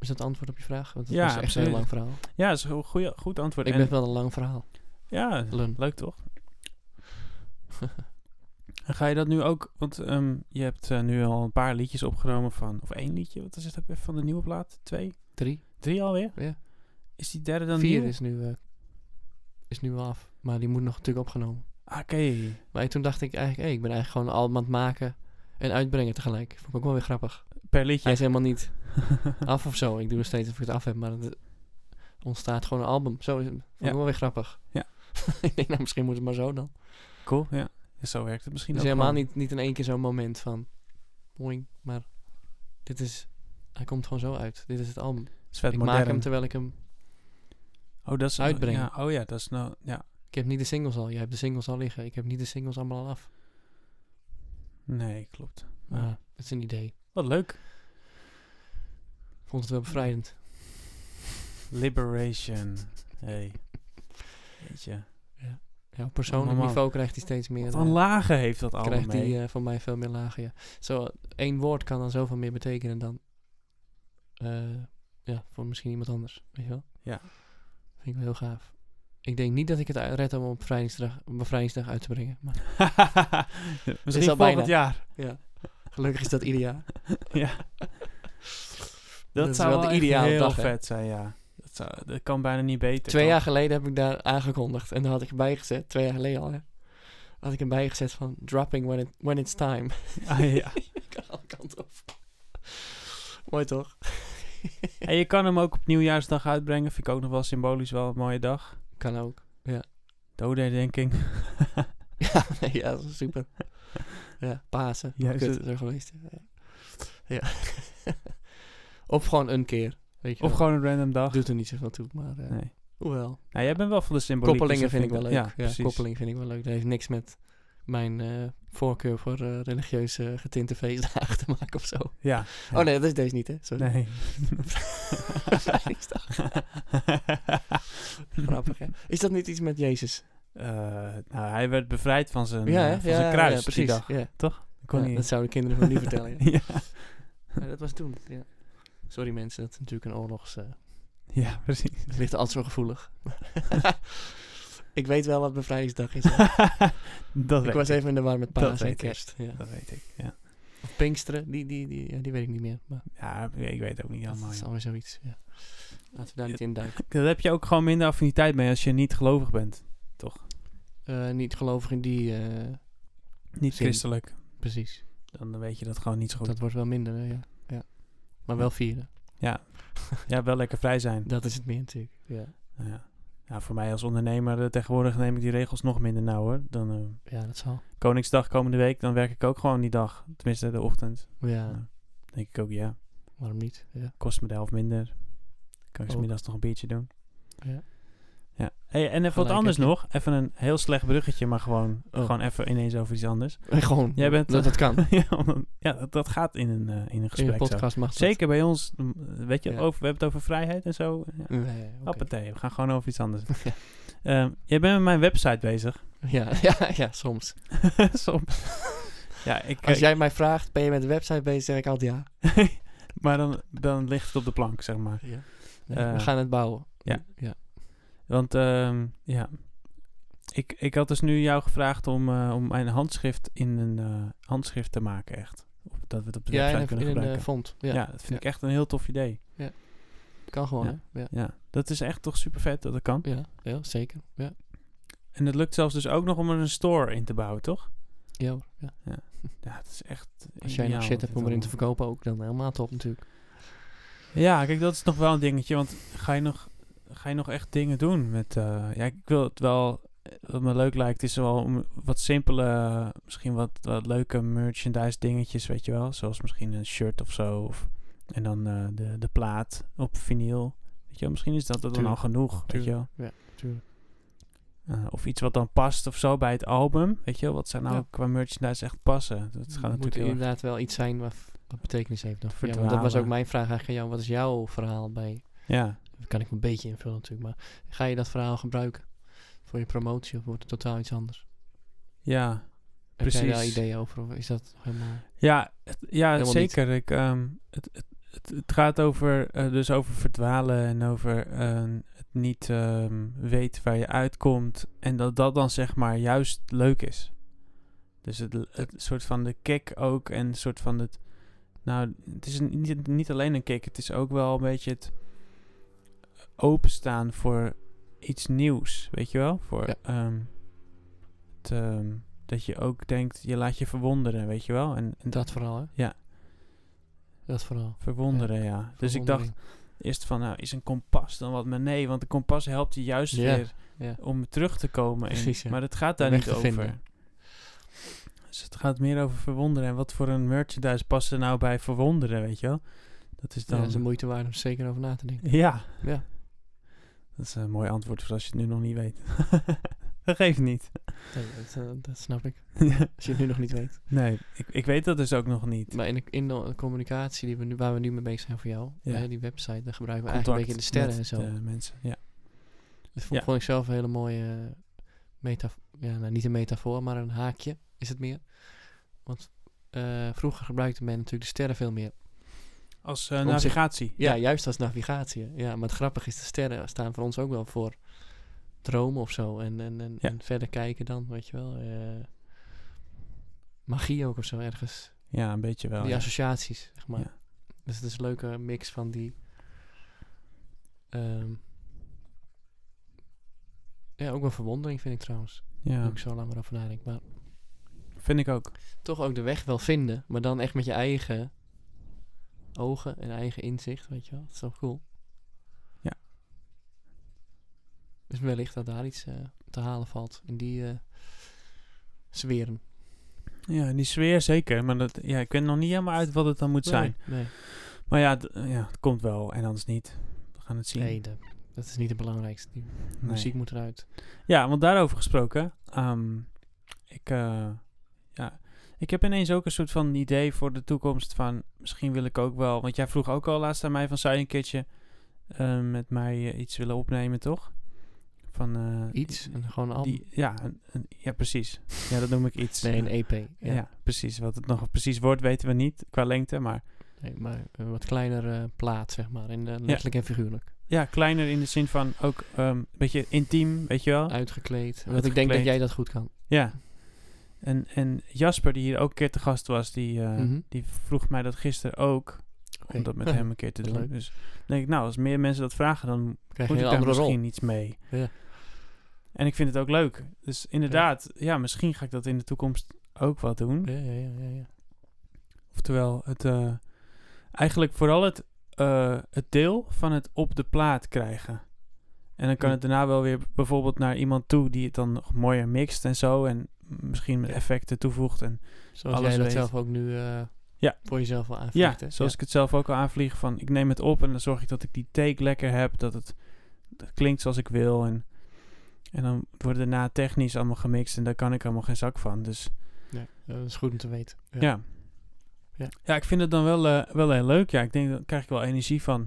is dat antwoord op je vraag? Want dat
Ja,
was echt een
absoluut.
heel lang verhaal.
Ja, dat is een goe- goeie, goed antwoord.
Ik
En-
ben wel een lang verhaal.
ja,
Lun.
leuk toch? En ga je dat nu ook, want ehm, je hebt eh, nu al een paar liedjes opgenomen van, of één liedje, wat is het ook weer van de nieuwe plaat? Twee?
Drie,
Drie alweer?
ja.
Is die derde dan
Vier
nieuw?
is nu, eh, is nu wel af. Maar die moet nog natuurlijk opgenomen.
Ah, Oké.
Maar toen dacht ik eigenlijk, hey, ik ben eigenlijk gewoon al aan het maken en uitbrengen tegelijk. Vond ik ook wel weer grappig.
Per
Hij
liedje.
is helemaal niet af of zo. Ik doe nog steeds of ik het af heb, maar het ontstaat gewoon een album. Zo is het. Vond ik
Ja.
wel weer grappig.
Ja.
ik denk, nou, misschien moet het maar zo dan.
Cool, ja. Ja, Zo werkt het misschien
Dus
ook
helemaal
gewoon.
niet, niet in één keer zo'n moment van... Boing, maar dit is... Hij komt gewoon zo uit. Dit is het album.
Het is vet
ik
modern.
maak hem terwijl ik hem...
oh, dat is,
uitbrengen.
Ja, oh ja, dat is nou... Ja,
Ik heb niet de singles al. Jij hebt de singles al liggen. Ik heb niet de singles allemaal al af.
nee, klopt.
Maar
Ja.
het is een idee.
Wat leuk.
Ik vond het wel bevrijdend.
Liberation. Hey. Weet je.
Ja, op persoonlijk
Normaal.
niveau krijgt hij steeds meer...
Wat een
eh,
lagen heeft dat allemaal
krijgt hij
mee.
eh, van mij veel meer lagen, ja. Zo, één woord kan dan zoveel meer betekenen dan... eh, ja, voor misschien iemand anders. Weet je wel?
Ja.
Vind ik wel heel gaaf. Ik denk niet dat ik het u- red om op bevrijdingsdag, op bevrijdingsdag uit te brengen. Maar
Misschien
eh, al
volgend
bijna.
jaar.
Gelukkig is dat ieder jaar.
ja. Dat,
Dat is
zou
wel
wel
de
echt
ideale
heel
dag, hè?
vet zijn, ja. Dat, zou, dat kan bijna niet beter.
Twee
toch?
jaar geleden heb ik daar aangekondigd. En daar had ik erbij gezet. Twee jaar geleden al, hè. Had ik erbij gezet van dropping when, it, when it's time.
Ah, ja.
ik kan alle kanten op. Mooi toch?
En je kan hem ook op Nieuwjaarsdag uitbrengen. Vind ik ook nog wel symbolisch wel een mooie dag.
Kan ook.
Dodenherdenking.
Ja, nee, ja, dat is super. Ja, Pasen.
Ja,
Kut,
is het-
is er geweest. Ja. ja. of gewoon een keer. Weet je
Of
wel.
gewoon een random dag.
Doet er niet zoveel toe, maar... eh,
Nee.
Hoewel.
Nou, jij bent wel van de symboliek.
Koppelingen
dus dat
vind ik wel leuk.
Ja,
Ja,
precies.
koppeling vind ik wel leuk. Dat heeft niks met mijn eh, voorkeur voor eh, religieuze getinte feestdagen te maken of zo.
Ja. Ja.
Oh nee, dat is deze niet, hè? Sorry.
Nee.
Bevrijdingsdag. Grappig, hè? Is dat niet iets met Jezus?
Eh, nou, hij werd bevrijd van zijn, eh,
hè?
van zijn kruis
ja,
die
precies.
dag.
Ja.
Ik kon
Ja,
niet-
Dat zouden kinderen gewoon niet vertellen. ja.
ja.
Maar dat was toen, ja. Sorry mensen, dat is natuurlijk een oorlogs... eh,
ja, precies.
het ligt altijd zo gevoelig. ik weet wel wat bevrijdingsdag is. hè.
dat,
ik
weet
was even in de war met
Dat
paas en
weet ik.
kerst. Ja.
dat weet ik. Ja.
Of Pinksteren, die, die, die, ja, die weet ik niet meer. Maar
ja, ik weet ook niet
dat
allemaal.
is
joh.
alweer zoiets. Ja. Laten we daar
Ja.
niet in duiken.
Daar heb je ook gewoon minder affiniteit mee als je niet gelovig bent.
Eh, niet gelovig in die, eh,
Niet
Zin.
christelijk.
precies.
Dan weet je dat gewoon niet zo goed.
Dat wordt wel minder, hè, ja. ja. Maar wel vieren.
Ja, wel lekker vrij zijn.
Dat is het meer natuurlijk. Ja,
Nou Ja. Ja, voor mij als ondernemer eh, tegenwoordig neem ik die regels nog minder nauw hoor. Dan, eh,
ja dat zal.
Koningsdag komende week, dan werk ik ook gewoon die dag. Tenminste, de ochtend.
Ja,
Denk ik ook, ja.
waarom niet? Ja.
Kost me de helft minder. Kan ik
Ook.
smiddags nog een biertje doen.
Ja.
Ja. Hey, en even wat
Gelijk
anders
heb je.
nog. Even een heel slecht bruggetje, maar gewoon,
Oh.
gewoon even ineens over iets anders.
Gewoon.
Jij bent- eh,
dat dat kan.
ja, omdat- ja, dat, dat gaat in een, eh, in een
In
gesprek zo.
een podcast mag dat.
Zeker bij ons, mm, weet je,
Ja.
over, we hebben het over vrijheid en zo. Ja.
Nee, oké.
Hoppatee, we gaan gewoon over iets anders.
Ja.
Ehm, jij bent met mijn website bezig.
Ja, ja, ja, soms.
Soms. ja, ik, eh,
Als
ik-
jij mij vraagt, ben je met de website bezig, zeg ik altijd ja.
maar dan, dan ligt het op de plank, zeg maar.
Nee,
Eh,
we gaan het bouwen.
ja.
ja.
Want ehm, ja, ik, ik had dus nu jou gevraagd om, eh, om mijn handschrift in een eh, handschrift te maken, echt. Of Dat we het op de
Ja, in
website
een,
kunnen
in een eh,
gebruiken.
font. Ja,
ja. dat vind ik echt een heel tof idee.
kan gewoon,
ja.
hè? Ja,
Ja, dat is echt toch super vet dat dat kan.
ja, ja, zeker. Ja,
En het lukt zelfs dus ook nog om er een store in te bouwen, toch?
ja, hoor, ja.
Ja, het is echt
Als jij
ideaal
nog shit
dit
hebt om erin te
allemaal.
verkopen ook, dan helemaal top natuurlijk.
Ja, kijk, dat is nog wel een dingetje. Want ga je nog, ga je nog echt dingen doen met... eh, ja, ik wil het wel... Wat me leuk lijkt is wel om wat simpele... Misschien wat, wat leuke merchandise dingetjes, weet je wel. Zoals misschien een shirt of zo. Of, en dan eh, de, de plaat op vinyl. Weet je wel, misschien is dat het dan al
Tuurlijk.
genoeg, weet je
Tuurlijk.
wel.
Tuurlijk.
Eh, of iets wat dan past of zo bij het album. Weet je wel, wat zou nou
Ja.
qua merchandise echt passen? Dat gaat
moet
natuurlijk heel erg-
inderdaad wel iets zijn wat, wat betekenis heeft nog. Ja, want dat
Verdwalen.
was ook mijn vraag eigenlijk aan jou. Wat is jouw verhaal bij...
Ja,
Dat kan ik een beetje invullen natuurlijk, maar ga je dat verhaal gebruiken voor je promotie of wordt het totaal iets anders?
ja.
Heb jij daar
Precies.
ideeën over of is dat helemaal...
Ja, het- ja
Helemaal
zeker. Ik, ehm, het, het, het, het gaat over, eh, dus over verdwalen en over ehm, het niet ehm, weten waar je uitkomt. En dat dat dan zeg maar juist leuk is. Dus het, het soort van de kick ook en een soort van het... Nou, het is een- niet, niet alleen een kick. Het is ook wel een beetje het openstaan voor iets nieuws. Weet je wel? Voor
Ja.
ehm, het, ehm, dat je ook denkt, je laat je verwonderen, weet je wel? En, en
Dat vooral, hè?
Ja.
Dat vooral.
Verwonderen, ja. Dus ik dacht eerst van, nou, is een kompas dan wat? Maar nee, want de kompas helpt je juist
Ja,
weer
ja.
om terug te komen. in.
Precies, ja.
Maar het gaat daar
Weg
niet
te
over.
vinden.
Dus het gaat meer over verwonderen. En wat voor een merchandise past er nou bij verwonderen, weet je wel? Dat is
Ja,
dan...
dat is de moeite waard om zeker over na te denken.
Ja.
Ja.
Dat is een mooi antwoord voor als je het nu nog niet weet. dat geeft niet.
Nee, dat, eh, dat snap ik.
Ja.
Als je het nu nog niet weet.
nee, ik, ik weet dat dus ook nog niet.
Maar in de, in de communicatie die we nu, waar we nu mee bezig zijn voor jou,
Ja.
hè, die website, daar gebruiken we
Contact
eigenlijk een beetje de sterren en
met
zo.
de mensen, ja.
Dat vond,
ja.
vond ik zelf een hele mooie metafoor. Ja, nou, niet een metafoor, maar een haakje is het meer. Want eh, vroeger gebruikte men natuurlijk de sterren veel meer.
Als eh,
zich-
navigatie.
Ja, juist als navigatie. Ja, maar het grappige is, de sterren staan voor ons ook wel voor dromen of zo. En, en, en,
Ja.
en verder kijken dan, weet je wel. eh, magie ook of zo ergens.
Ja, een beetje wel.
die
ja.
associaties, zeg maar.
Ja.
Dus het is een leuke mix van die... ehm, ja, ook wel verwondering vind ik trouwens.
Ja,
Moet ik zo lang maar over nadenken. Maar
vind ik ook.
toch ook de weg wel vinden. Maar dan echt met je eigen ogen en eigen inzicht, weet je wel. Dat is wel cool.
Ja.
Dus wellicht dat daar iets eh, te halen valt. In die eh sferen.
Ja, die sfeer zeker. Maar dat, ja, ik weet nog niet helemaal uit wat het dan moet zijn.
Nee, nee.
Maar ja, d- eh, ja, het komt wel. En anders niet. We gaan het zien.
Nee, dat, dat is niet het belangrijkste. Die
Nee.
muziek moet eruit.
Ja, want daarover gesproken. ehm, ik, eh, ja, ik heb ineens ook een soort van idee voor de toekomst van... Misschien wil ik ook wel... Want jij vroeg ook al laatst aan mij van... Zou je een keertje eh, met mij eh, iets willen opnemen, toch? Van, eh,
Iets. En gewoon al.
Die, ja, een- een- ja, precies. Ja, dat noem ik iets.
Nee, een EP. Ja.
Ja. precies. Wat het nog precies wordt, weten we niet qua lengte. Maar
Nee, maar een wat kleiner eh, plaat, zeg maar. In, eh, letterlijk en figuurlijk.
ja, kleiner in de zin van ook ehm, een beetje intiem, weet je wel?
Uitgekleed. Want ik denk dat
Oh. Uitgekleed.
jij dat goed kan.
Ja. En, en Jasper, die hier ook een keer te gast was, die, eh,
Mhm.
die vroeg mij dat gisteren ook.
Oké.
Om dat met
Ja,
hem een keer te
dat is
doen.
leuk.
Dus denk ik, nou, als meer mensen dat vragen, dan
Krijg je
moet ik
een hele
daar
andere rol.
misschien iets mee.
Ja.
En ik vind het ook leuk. Dus inderdaad, ja. misschien ga ik dat in de toekomst ook wel doen.
Ja, ja, ja, ja, ja.
Oftewel, het, eh, eigenlijk vooral het, eh, het deel van het op de plaat krijgen. En dan kan
Ja.
het daarna wel weer bijvoorbeeld naar iemand toe die het dan nog mooier mixt en zo. En misschien met effecten toevoegt. En
Zoals
Alles
jij dat
weet.
zelf ook nu eh,
Ja.
voor jezelf wel aanvliegt.
ja, zoals ik het zelf ook al aanvlieg van ik neem het op en dan zorg ik dat ik die take lekker heb. Dat het het klinkt zoals ik wil. En, en dan wordt het daarna technisch allemaal gemixt en daar kan ik helemaal geen zak van. Dus
Ja, dat is goed om te weten. Ja.
ja.
Ja.
Ja, ik vind het dan wel, eh, wel heel leuk. Ja, ik denk, daar krijg ik wel energie van.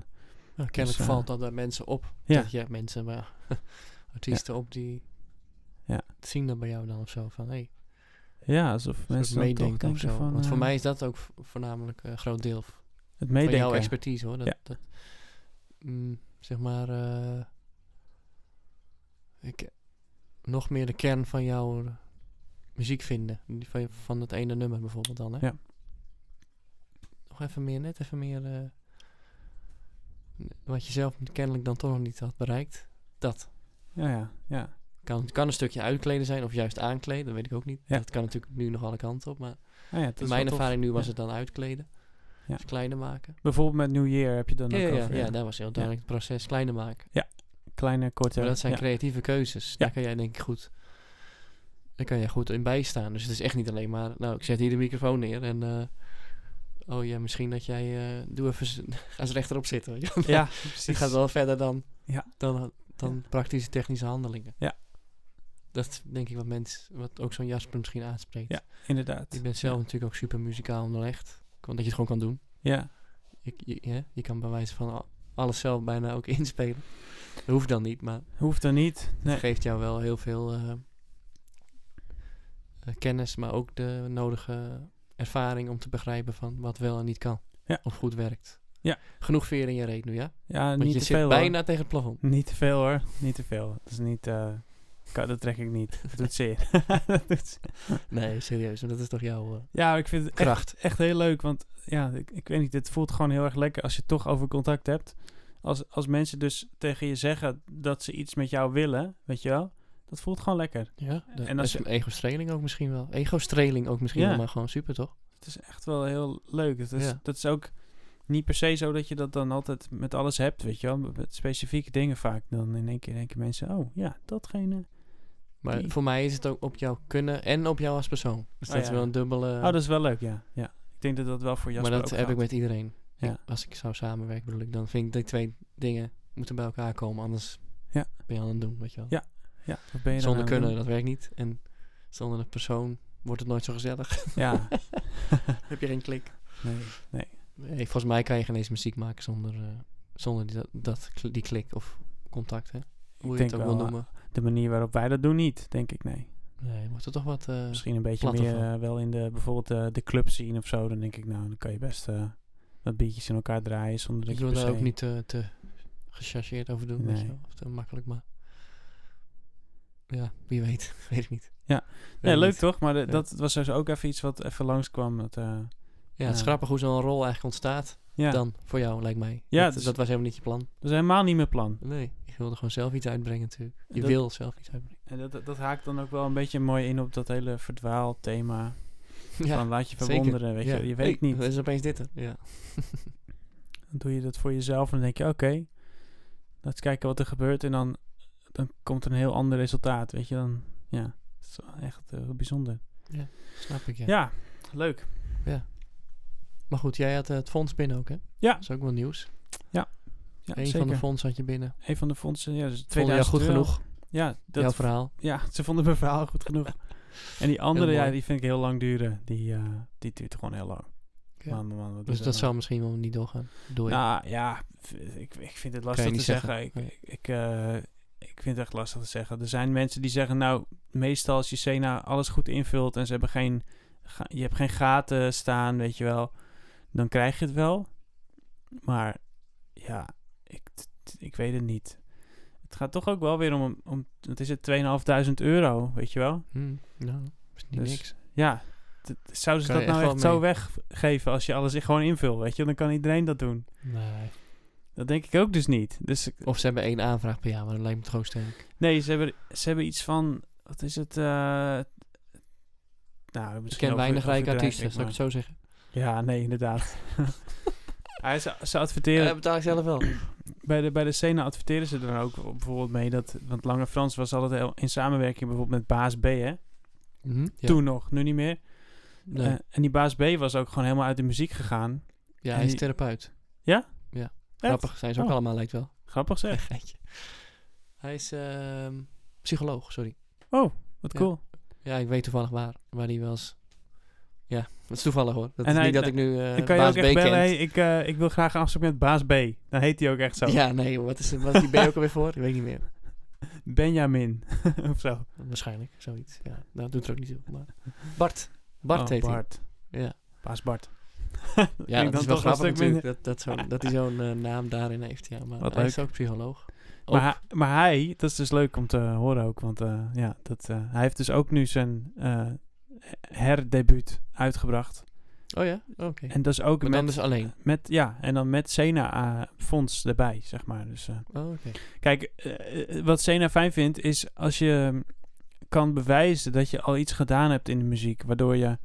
Nou, kennelijk
Dus, eh,
valt dat bij mensen op.
ja.
Dat, ja, mensen, maar artiesten op die
Ja.
zien dat bij jou dan of zo. Van, hey,
Ja, alsof
mensen
mensen dan toch
meedenken of
denken
zo.
van...
Want voor
eh,
mij is dat ook vo- voornamelijk eh, een groot deel v-
het
van jouw
meedenken.
expertise hoor. Dat,
Ja.
dat, mm, zeg maar, eh, ik, nog meer de kern van jouw muziek vinden. Die Van, van het ene nummer bijvoorbeeld dan. Hè?
Ja.
Nog even meer, net even meer. eh, n- wat je zelf kennelijk dan toch nog niet had bereikt. Dat.
Ja, ja, ja.
Kan, kan een stukje uitkleden zijn of juist aankleden, dat weet ik ook niet.
Ja.
Dat kan natuurlijk nu nog alle kanten op, maar
Ah, ja het
in
is wel
mijn
tof.
ervaring nu was
Ja.
het dan uitkleden.
Ja.
Dus kleiner maken.
Bijvoorbeeld met New Year heb je dan
Ja,
ook
ja, ja,
over,
daar was heel duidelijk het proces kleiner maken.
Kleine, korte...
Maar dat zijn
ja.
creatieve keuzes. Daar kan jij denk ik goed, daar kan jij goed in bijstaan. Dus het is echt niet alleen maar, nou ik zet hier de microfoon neer en... eh, Oh ja, misschien dat jij... eh, doe even... z- Ga eens rechterop zitten. weet je wel.
Ja, precies.
Het gaat wel verder dan,
Ja.
dan, dan praktische technische handelingen.
Ja.
Dat is denk ik wat mensen, wat ook zo'n Jasper misschien aanspreekt.
Ja. Inderdaad.
Ik ben zelf natuurlijk ook super muzikaal onderlegd. Omdat je het gewoon kan doen.
Ja,
Ik, je, hè, je kan bij wijze van al- alles zelf bijna ook inspelen. Dat hoeft dan niet, maar
hoeft dan niet. Nee.
het geeft jou wel heel veel eh, eh, kennis, maar ook de nodige ervaring om te begrijpen van wat wel en niet kan.
Ja.
Of goed werkt.
Ja.
Genoeg veer in je reet nu, ja?
Ja,
Want
niet
je
te
zit
veel hoor.
bijna tegen het plafond.
Niet te veel hoor. Niet te veel. Dat is niet... eh, kan- dat trek ik niet. Dat doet zeer. dat doet zeer.
Nee, serieus, want dat is toch jouw eh,
Ja, ik vind het echt,
kracht.
echt heel leuk. Want ja, ik, ik weet niet, het voelt gewoon heel erg lekker als je het toch over contact hebt. Als, als mensen dus tegen je zeggen dat ze iets met jou willen, weet je wel, dat voelt gewoon lekker.
Ja,
en
en dat
als
is
je-
een ego-streling ook misschien wel. Ego-streling ook misschien
Ja.
wel, maar gewoon super toch?
Het is echt wel heel leuk. Dat is,
Ja.
dat is ook niet per se zo dat je dat dan altijd met alles hebt, weet je wel. Met specifieke dingen vaak. Dan in één keer denken mensen, oh ja, datgene.
Maar
Die-
voor mij is het ook op jouw kunnen en op jou als persoon. Dus
Oh,
dat is
ja.
wel een dubbele...
Oh, dat is wel leuk, ja. ja. Ik denk dat dat wel voor Jasper
maar dat
ook
heb ik
geldt.
met iedereen.
Ja.
Ik- als ik zou samenwerken bedoel ik, dan vind ik die twee dingen moeten bij elkaar komen. Anders
Ja.
ben je aan het doen, weet je wel.
Ja, Ja, wat ben je dan
Zonder
aan het
kunnen,
doen?
dat werkt niet. En zonder een persoon wordt het nooit zo gezellig.
Ja,
heb je geen klik.
nee, nee.
Nee, volgens mij kan je geen eens muziek maken zonder, eh, zonder die, dat, dat, kl- die klik of contact, hè? Hoe je
denk
het ook wil
wel,
noemen.
De manier waarop wij dat doen niet, denk ik, nee.
Nee, je wordt er toch wat... eh,
Misschien een beetje
platte
meer
van.
eh, wel in de, bijvoorbeeld eh, de club zien of zo. Dan denk ik, nou, dan kan je best eh wat biertjes in elkaar draaien zonder dat
Ik
je
wil
per
daar
se-
ook niet te, te gechargeerd over doen, weet je
Nee.
wel. Of te makkelijk, maar... Ja, wie weet. weet ik niet.
Ja.
Weet
Nee,
ik
leuk
niet.
toch? Maar de- dat was dus ook even iets wat even langskwam. Dat, eh,
Ja, het is
Ja.
grappig hoe zo'n rol eigenlijk ontstaat
ja,
dan, voor jou, lijkt mij.
Ja,
dat,
dus-
dat was helemaal niet je plan.
dat is helemaal niet mijn plan.
Nee, je wilde gewoon zelf iets uitbrengen natuurlijk. Je
Dat-
wil zelf iets uitbrengen.
En dat, dat, dat haakt dan ook wel een beetje mooi in op dat hele verdwaalthema.
Ja,
van laat je
zeker.
verwonderen, weet
Ja.
je. Je weet
Hey,
niet.
Er is opeens dit er. Ja.
Dan doe je dat voor jezelf en dan denk je, oké, laten we kijken wat er gebeurt. En dan, dan komt er een heel ander resultaat, weet je. Dan, ja, dat is wel echt eh, heel bijzonder.
Snap ik, ja.
Ja, leuk.
Maar goed, jij had eh, het fonds binnen ook, hè?
Ja.
Dat is ook wel nieuws.
Ja,
Eén
zeker.
van de fondsen had je binnen.
Een van de fondsen, ja, dus
Vond je jou
2000
goed
euro.
genoeg?
Ja,
jouw
dat,
verhaal?
ja, ze vonden mijn verhaal goed genoeg. en die andere,
Heel mooi.
ja, die vind ik heel lang duren. Die, eh, die duurt gewoon heel lang.
Oké.
Man, man, man, wat
Dus
is
dat
nou?
zou misschien wel niet doorgaan. Door je.
Nou ja, v- ik, ik vind het lastig
je
te
niet
zeggen.
zeggen.
Ik,
Nee.
ik, eh, ik vind het echt lastig te zeggen. Er zijn mensen die zeggen, nou, meestal als je Sena alles goed invult en ze hebben geen, ga- je hebt geen gaten staan, weet je wel, dan krijg je het wel. Maar ja, ik, t- t- ik weet het niet. Het gaat toch ook wel weer om, om het is het 2500 euro, weet je wel.
Hmm, nou, is niet
Dus-
niks.
Ja, t- t- zouden ze
Kan
dat
je
nou
echt
echt
wel
zo weggeven als je alles gewoon invult, weet je? Dan kan iedereen dat doen.
Nee.
Dat denk ik ook dus niet. Dus
Of ze hebben één aanvraag per jaar, maar dat lijkt me toch ook sterk.
Nee, ze hebben, ze hebben iets van. Wat is het? eh, nou,
Ik
misschien
ken
over-
weinig
overdrijf
rijke artiesten,
ik,
zou ik het zo zeggen.
maar- Ja, nee, inderdaad. Hij ze, ze adverteren.
betaal ik zelf wel.
bij, de, bij de scène adverteren ze er ook bijvoorbeeld mee dat. Want Lange Frans was altijd heel- in samenwerking bijvoorbeeld met Baas B, hè? Toen nog, nu niet meer.
Hmm? Nee.
Eh, en die Baas B was ook gewoon helemaal uit de muziek gegaan.
ja,
en
hij is
die-
therapeut.
Ja?
Ja.
Echt?
Grappig zijn ze ook
Oh.
allemaal, lijkt wel.
Grappig zeg.
Geitje. Hij is ehm, psycholoog, sorry.
Oh, wat
Ja.
cool.
Ja, ik weet toevallig waar, waar hij was. Ja, dat is toevallig hoor. Dat
En
is
hij-
niet dat ik nu eh
Dan kan je
baas
ook
B
echt bellen,
ken.
hey, ik, eh, ik wil graag een afspraak met baas B. Dan heet hij ook echt zo.
Ja, nee, joh, wat is wat is die B ook alweer voor? Ik weet niet meer.
Benjamin, of zo.
Waarschijnlijk, zoiets. Ja, nou, doet er ook niet toe. Maar... Bart. Bart
Oh,
heet hij.
Bart.
Ja,
Baas Bart.
ja
Klinkt
dat
dan
is wel
toch een
grappig
stuk
natuurlijk,
minder.
dat, dat, zo'n- dat hij zo'n eh, naam daarin heeft. Ja, maar
Wat
hij is
leuk.
ook psycholoog.
Maar, hij- maar hij, dat is dus leuk om te horen ook, want eh, ja, dat, eh, hij heeft dus ook nu zijn eh, herdebuut uitgebracht.
Oh ja? Oké.
En dat is ook
Maar dan
met,
dus alleen.
met, ja, en dan met Sena-fonds erbij, zeg maar. Dus eh,
Oh, oké.
Kijk, eh, eh, wat Sena fijn vindt is als je mm, kan bewijzen dat je al iets gedaan hebt in de muziek, waardoor, je,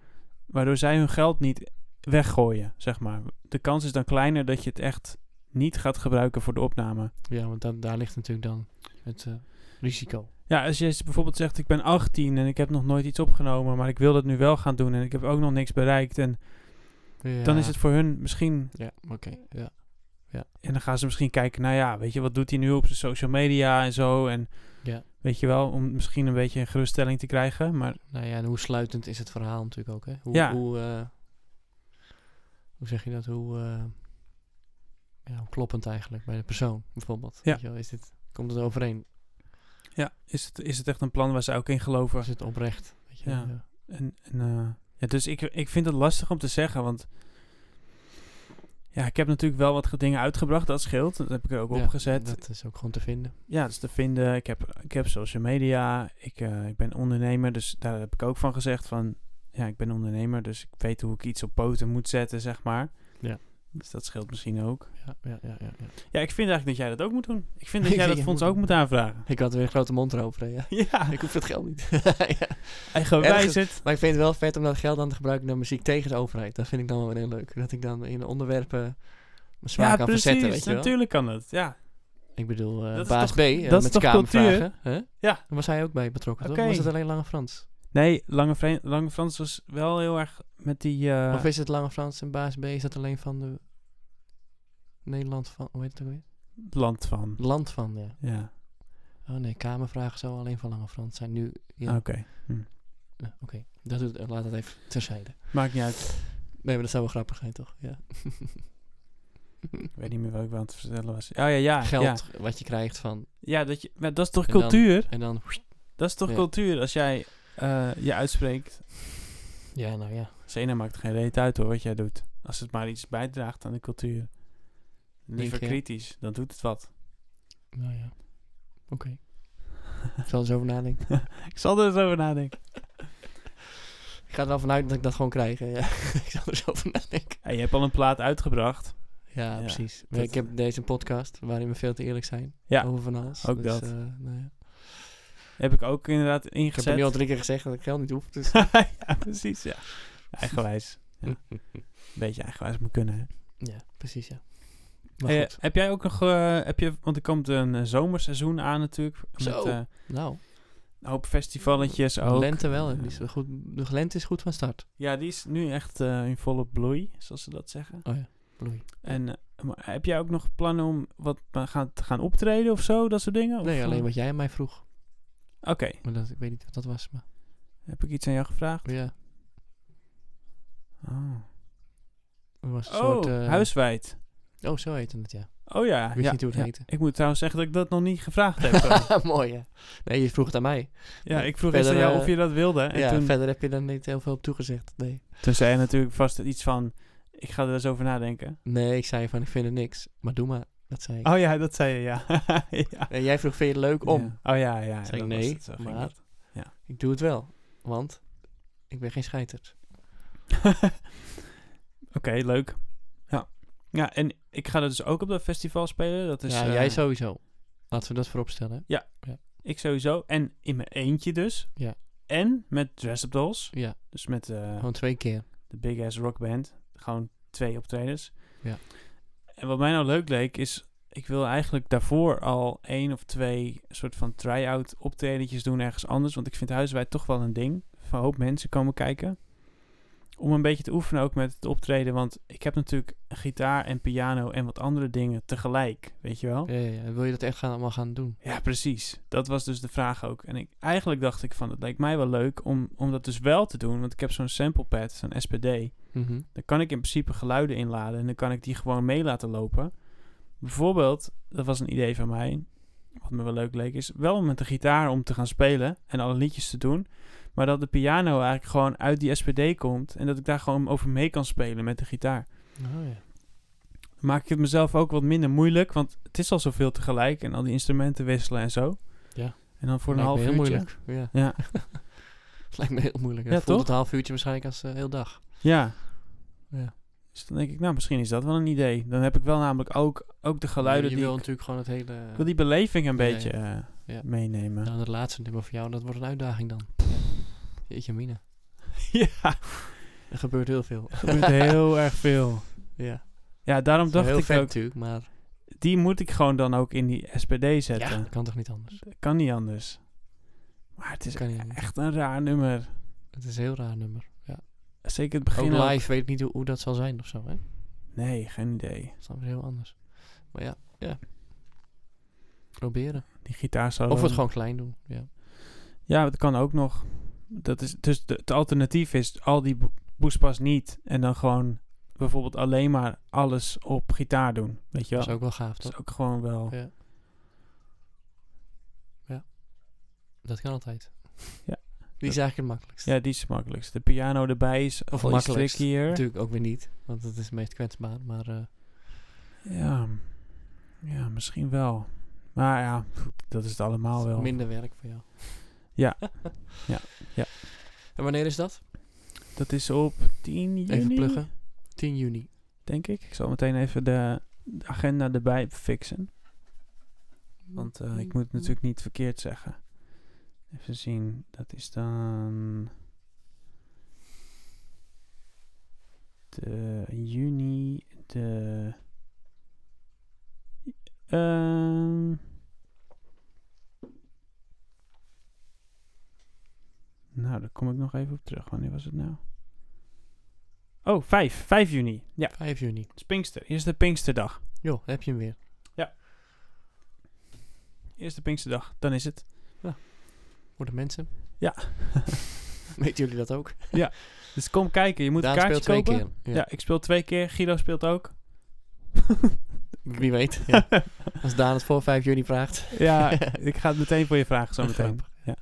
waardoor zij hun geld niet weggooien, zeg maar. De kans is dan kleiner dat je het echt niet gaat gebruiken voor de opname.
Ja, want dan, daar ligt natuurlijk dan het eh, risico.
Ja, als je eens bijvoorbeeld zegt, ik ben 18 en ik heb nog nooit iets opgenomen, maar ik wil dat nu wel gaan doen en ik heb ook nog niks bereikt. En dan is het voor hun misschien,
Ja, oké. Ja.
en dan gaan ze misschien kijken, nou ja, weet je, wat doet hij nu op zijn social media en zo. En
Ja.
weet je wel, om misschien een beetje een geruststelling te krijgen, maar
Nou ja, en hoe sluitend is het verhaal natuurlijk ook, hè? Hoe,
Ja.
Hoe, eh, hoe zeg je dat? Hoe, eh, ja, hoe kloppend eigenlijk bij de persoon, bijvoorbeeld.
Ja.
Weet je wel, is dit, komt het overeen?
Ja, is het, is het echt een plan waar ze ook in geloven?
Is het oprecht? Weet je,
Ja.
wel, ja.
En, en, eh, ja, dus ik, ik vind het lastig om te zeggen, want ja, ik heb natuurlijk wel wat ge- dingen uitgebracht, dat scheelt. Dat heb ik er ook
Ja,
opgezet.
Dat is ook gewoon te vinden.
Ja, dat is te vinden. Ik heb, ik heb social media, ik, eh, ik ben ondernemer, dus daar heb ik ook van gezegd van, ja, ik ben ondernemer, dus ik weet hoe ik iets op poten moet zetten, zeg maar.
Ja.
Dus dat scheelt misschien ook.
Ja, ja, ja, ja, ja.
Ja, ik vind eigenlijk dat jij dat ook moet doen. Ik vind
Ik
dat jij
vind
dat
jij
fonds
moet
ook
doen.
moet aanvragen.
Ik had weer een grote mond erover, hè, ja.
Ja,
Ik hoef het geld niet. ja.
eigenwijs het.
Maar ik vind het wel vet om dat geld dan te gebruiken naar muziek tegen de overheid. Dat vind ik dan wel weer heel leuk. Dat ik dan in onderwerpen me zwaar
Ja,
kan
precies,
verzetten, weet je wel.
natuurlijk kan het. Ja,
Ik bedoel, eh,
Dat is
baas
toch-
B, eh,
dat is
met
toch
kamervragen. Hè?
Ja.
Daar was hij ook bij betrokken,
Oké.
toch? Was het alleen Lange Frans?
Nee, Lange, Vre- Lange Frans was wel heel erg met die... eh,
Of is het Lange Frans en baas B, is dat alleen van de... Nederland van... Hoe heet het ook weer?
land van.
Land van, ja.
Ja,
Oh nee, kamervragen zou alleen van Lange Frans zijn. Nu... Ja,
oké.
Ja, oké. Dat doet, eh, laat dat even terzijde.
Maakt niet uit.
Nee, maar dat zou wel grappig zijn, toch? Ja.
Ik weet niet meer wat ik wel aan het vertellen was. Oh ja, ja. Ja,
Geld wat je krijgt van...
ja dat, je, maar dat is toch
En dan-
cultuur?
En dan...
Dat is toch
Ja.
cultuur als jij eh, je uitspreekt.
Ja, nou ja.
Zena maakt geen reet uit hoor, wat jij doet. Als het maar iets bijdraagt aan de cultuur. Liever
je?
kritisch, dan doet het wat.
Nou ja. Oké. Ik zal er eens over nadenken.
Ik zal er eens over nadenken.
Ik ga er wel vanuit dat ik dat gewoon krijg. hè, Ja. ik zal er eens over nadenken.
Hey, je hebt al een plaat uitgebracht.
Ja,
Ja,
precies.
dat-
ik heb deze podcast waarin we veel te eerlijk zijn
Ja,
over van alles.
ook dat.
eh, nou ja.
Heb ik ook inderdaad
Ik heb er
ingezet.
nu al drie keer gezegd dat ik geld niet hoef. Dus
ja, precies, ja. Eigenwijs. Ja. Een beetje eigenwijs moet kunnen, hè.
ja, precies ja. Maar
Eh,
goed.
heb jij ook nog, eh, heb je, want er komt een eh, zomerseizoen aan natuurlijk.
Zo.
Met eh,
Nou,
een hoop festivalletjes ook.
lente wel. hè,
Ja.
Die is wel goed. De lente is goed van start.
Ja, die is nu echt eh, in volle bloei, zoals ze dat zeggen.
Oh ja, bloei.
En eh, maar heb jij ook nog plannen om wat eh, gaan, te gaan optreden of zo, dat soort dingen? Of,
Nee, alleen
eh,
wat jij aan mij vroeg.
Oké,
Maar dat, ik weet niet wat dat was. Maar
heb ik iets aan jou gevraagd?
ja,
Oh,
er was een
Oh,
soort... eh,
huiswijd.
Oh, zo heette het, ja.
Oh ja.
Ik wist
ja,
niet hoe het
ja.
heette.
Ik moet trouwens zeggen dat ik dat nog niet gevraagd heb.
Mooi, ja. Nee, je vroeg het aan mij.
ja, ik vroeg
Verder,
eerst aan jou
eh,
of je dat wilde. En
ja,
toen,
verder heb je daar niet heel veel op toegezegd. Nee.
toen zei je natuurlijk vast iets van, ik ga er eens over nadenken.
Nee, ik zei van, ik vind er niks. Maar doe maar. Dat zei ik.
Oh ja, dat zei je, ja. ja.
En jij vroeg, vind je het leuk om?
Ja. Oh ja, ja.
Zei
dat
ik, nee,
was het, zo ging
maar-
dat.
Ik doe het wel, want ik ben geen scheiterd.
Oké, leuk. Ja. ja, en ik ga er dus ook op dat festival spelen. Dat is,
ja,
eh,
jij sowieso. Laten we dat vooropstellen. hè?
Ik sowieso. En in mijn eentje dus.
Ja. Oh.
En met Dress Up Dolls.
Ja,
Dus met eh,
gewoon twee keer.
de Big Ass Rock Band. Gewoon twee optredens.
Ja.
En wat mij nou leuk leek is... Ik wil eigenlijk daarvoor al één of twee soort van try-out optredentjes doen ergens anders. Want ik vind huiswijd toch wel een ding. Van een hoop mensen komen kijken. om een beetje te oefenen ook met het optreden. Want ik heb natuurlijk gitaar en piano en wat andere dingen tegelijk, weet je wel?
Ja, ja, ja. Wil je dat echt gaan, allemaal gaan doen?
Ja, precies. Dat was dus de vraag ook. En ik, eigenlijk dacht ik van, het lijkt mij wel leuk om, om dat dus wel te doen. Want ik heb zo'n sample pad, zo'n SPD.
Mhm.
Dan kan ik in principe geluiden inladen en dan kan ik die gewoon mee laten lopen. Bijvoorbeeld, dat was een idee van mij, wat me wel leuk leek, is wel om met de gitaar om te gaan spelen en alle liedjes te doen. Maar dat de piano eigenlijk gewoon uit die SPD komt en dat ik daar gewoon over mee kan spelen met de gitaar.
Oh, ja.
Dan maak ik het mezelf ook wat minder moeilijk, want het is al zoveel tegelijk en al die instrumenten wisselen en zo.
Ja.
En dan voor een
Lijkt me
half
heel
uurtje.
moeilijk. Ja.
Ja,
Lijkt me heel moeilijk.
Ja,
Ja, voelt
toch?
het half uurtje waarschijnlijk als eh, heel dag.
ja.
Ja.
Dus dan denk ik, nou, misschien is dat wel een idee. Dan heb ik wel namelijk ook, ook de geluiden
je
die
wil
ik
natuurlijk gewoon het hele...
Ik wil die beleving een
Ja, ja.
beetje eh,
Ja.
meenemen.
Nou, dat laatste nummer voor jou, dat wordt een uitdaging dan. Jeetje mina.
ja,
Er gebeurt heel veel.
er gebeurt heel erg veel.
Ja.
Ja, daarom
Dacht
dacht
heel
ik
vet
ook,
natuurlijk, maar...
die moet ik gewoon dan ook in die SPD
Ja,
zetten.
dat kan toch niet anders?
Kan niet anders. Maar het is
Kan niet anders.
echt een raar nummer.
Het is een heel raar nummer. Ja.
Zeker het begin.
ook
ook.
live weet ik niet hoe, hoe dat zal zijn of zo, hè?
Nee, geen idee.
Dat is dan weer heel anders. Maar ja, ja. Proberen.
Die gitaar zou.
Of
dan-
het gewoon klein doen, ja.
Ja, dat kan ook nog. Dat is, dus de- het alternatief is al die bo- boespas niet. En dan gewoon bijvoorbeeld alleen maar alles op gitaar doen. Weet je
Dat
wel?
is ook wel gaaf,
Dat
toch?
is ook gewoon wel.
Ja. Ja. Dat kan altijd.
Ja.
Die is eigenlijk het makkelijkst.
Ja, die is het makkelijkst. De piano erbij is
Of
of iets
makkelijkst.
trickier.
Natuurlijk ook weer niet, want dat is het meest kwetsbaar. Maar eh,
Ja, ja, misschien wel. Maar ja, pff, dat is het allemaal Ah, wel.
minder werk voor jou.
Ja. Ja, ja.
En wanneer is dat?
Dat is op 10 juni,
Even pluggen. 10 juni.
denk ik. Ik zal meteen even de, de agenda erbij fixen. Want eh,
Mm-hmm.
ik moet het natuurlijk niet verkeerd zeggen. Even zien, dat is dan... De juni, de... Ehm. nou, daar kom ik nog even op terug. Wanneer was het nou? Oh, 5. 5 juni. Ja,
5 juni.
het is Pinkster. Eerste Pinksterdag.
Jo, daar heb je hem weer.
Eerste Pinksterdag, dan is het.
Voor de mensen.
Ja.
Weten jullie dat ook?
Dus kom kijken, je moet
Daan
een kaartje
speelt twee
kopen.
keer.
Ja. ik speel twee keer. Guido speelt ook.
Wie weet. Ja. Als Daan het voor 5 juni vraagt.
Ja, ik ga het meteen voor je vragen zo meteen.
Grappig.
Ja.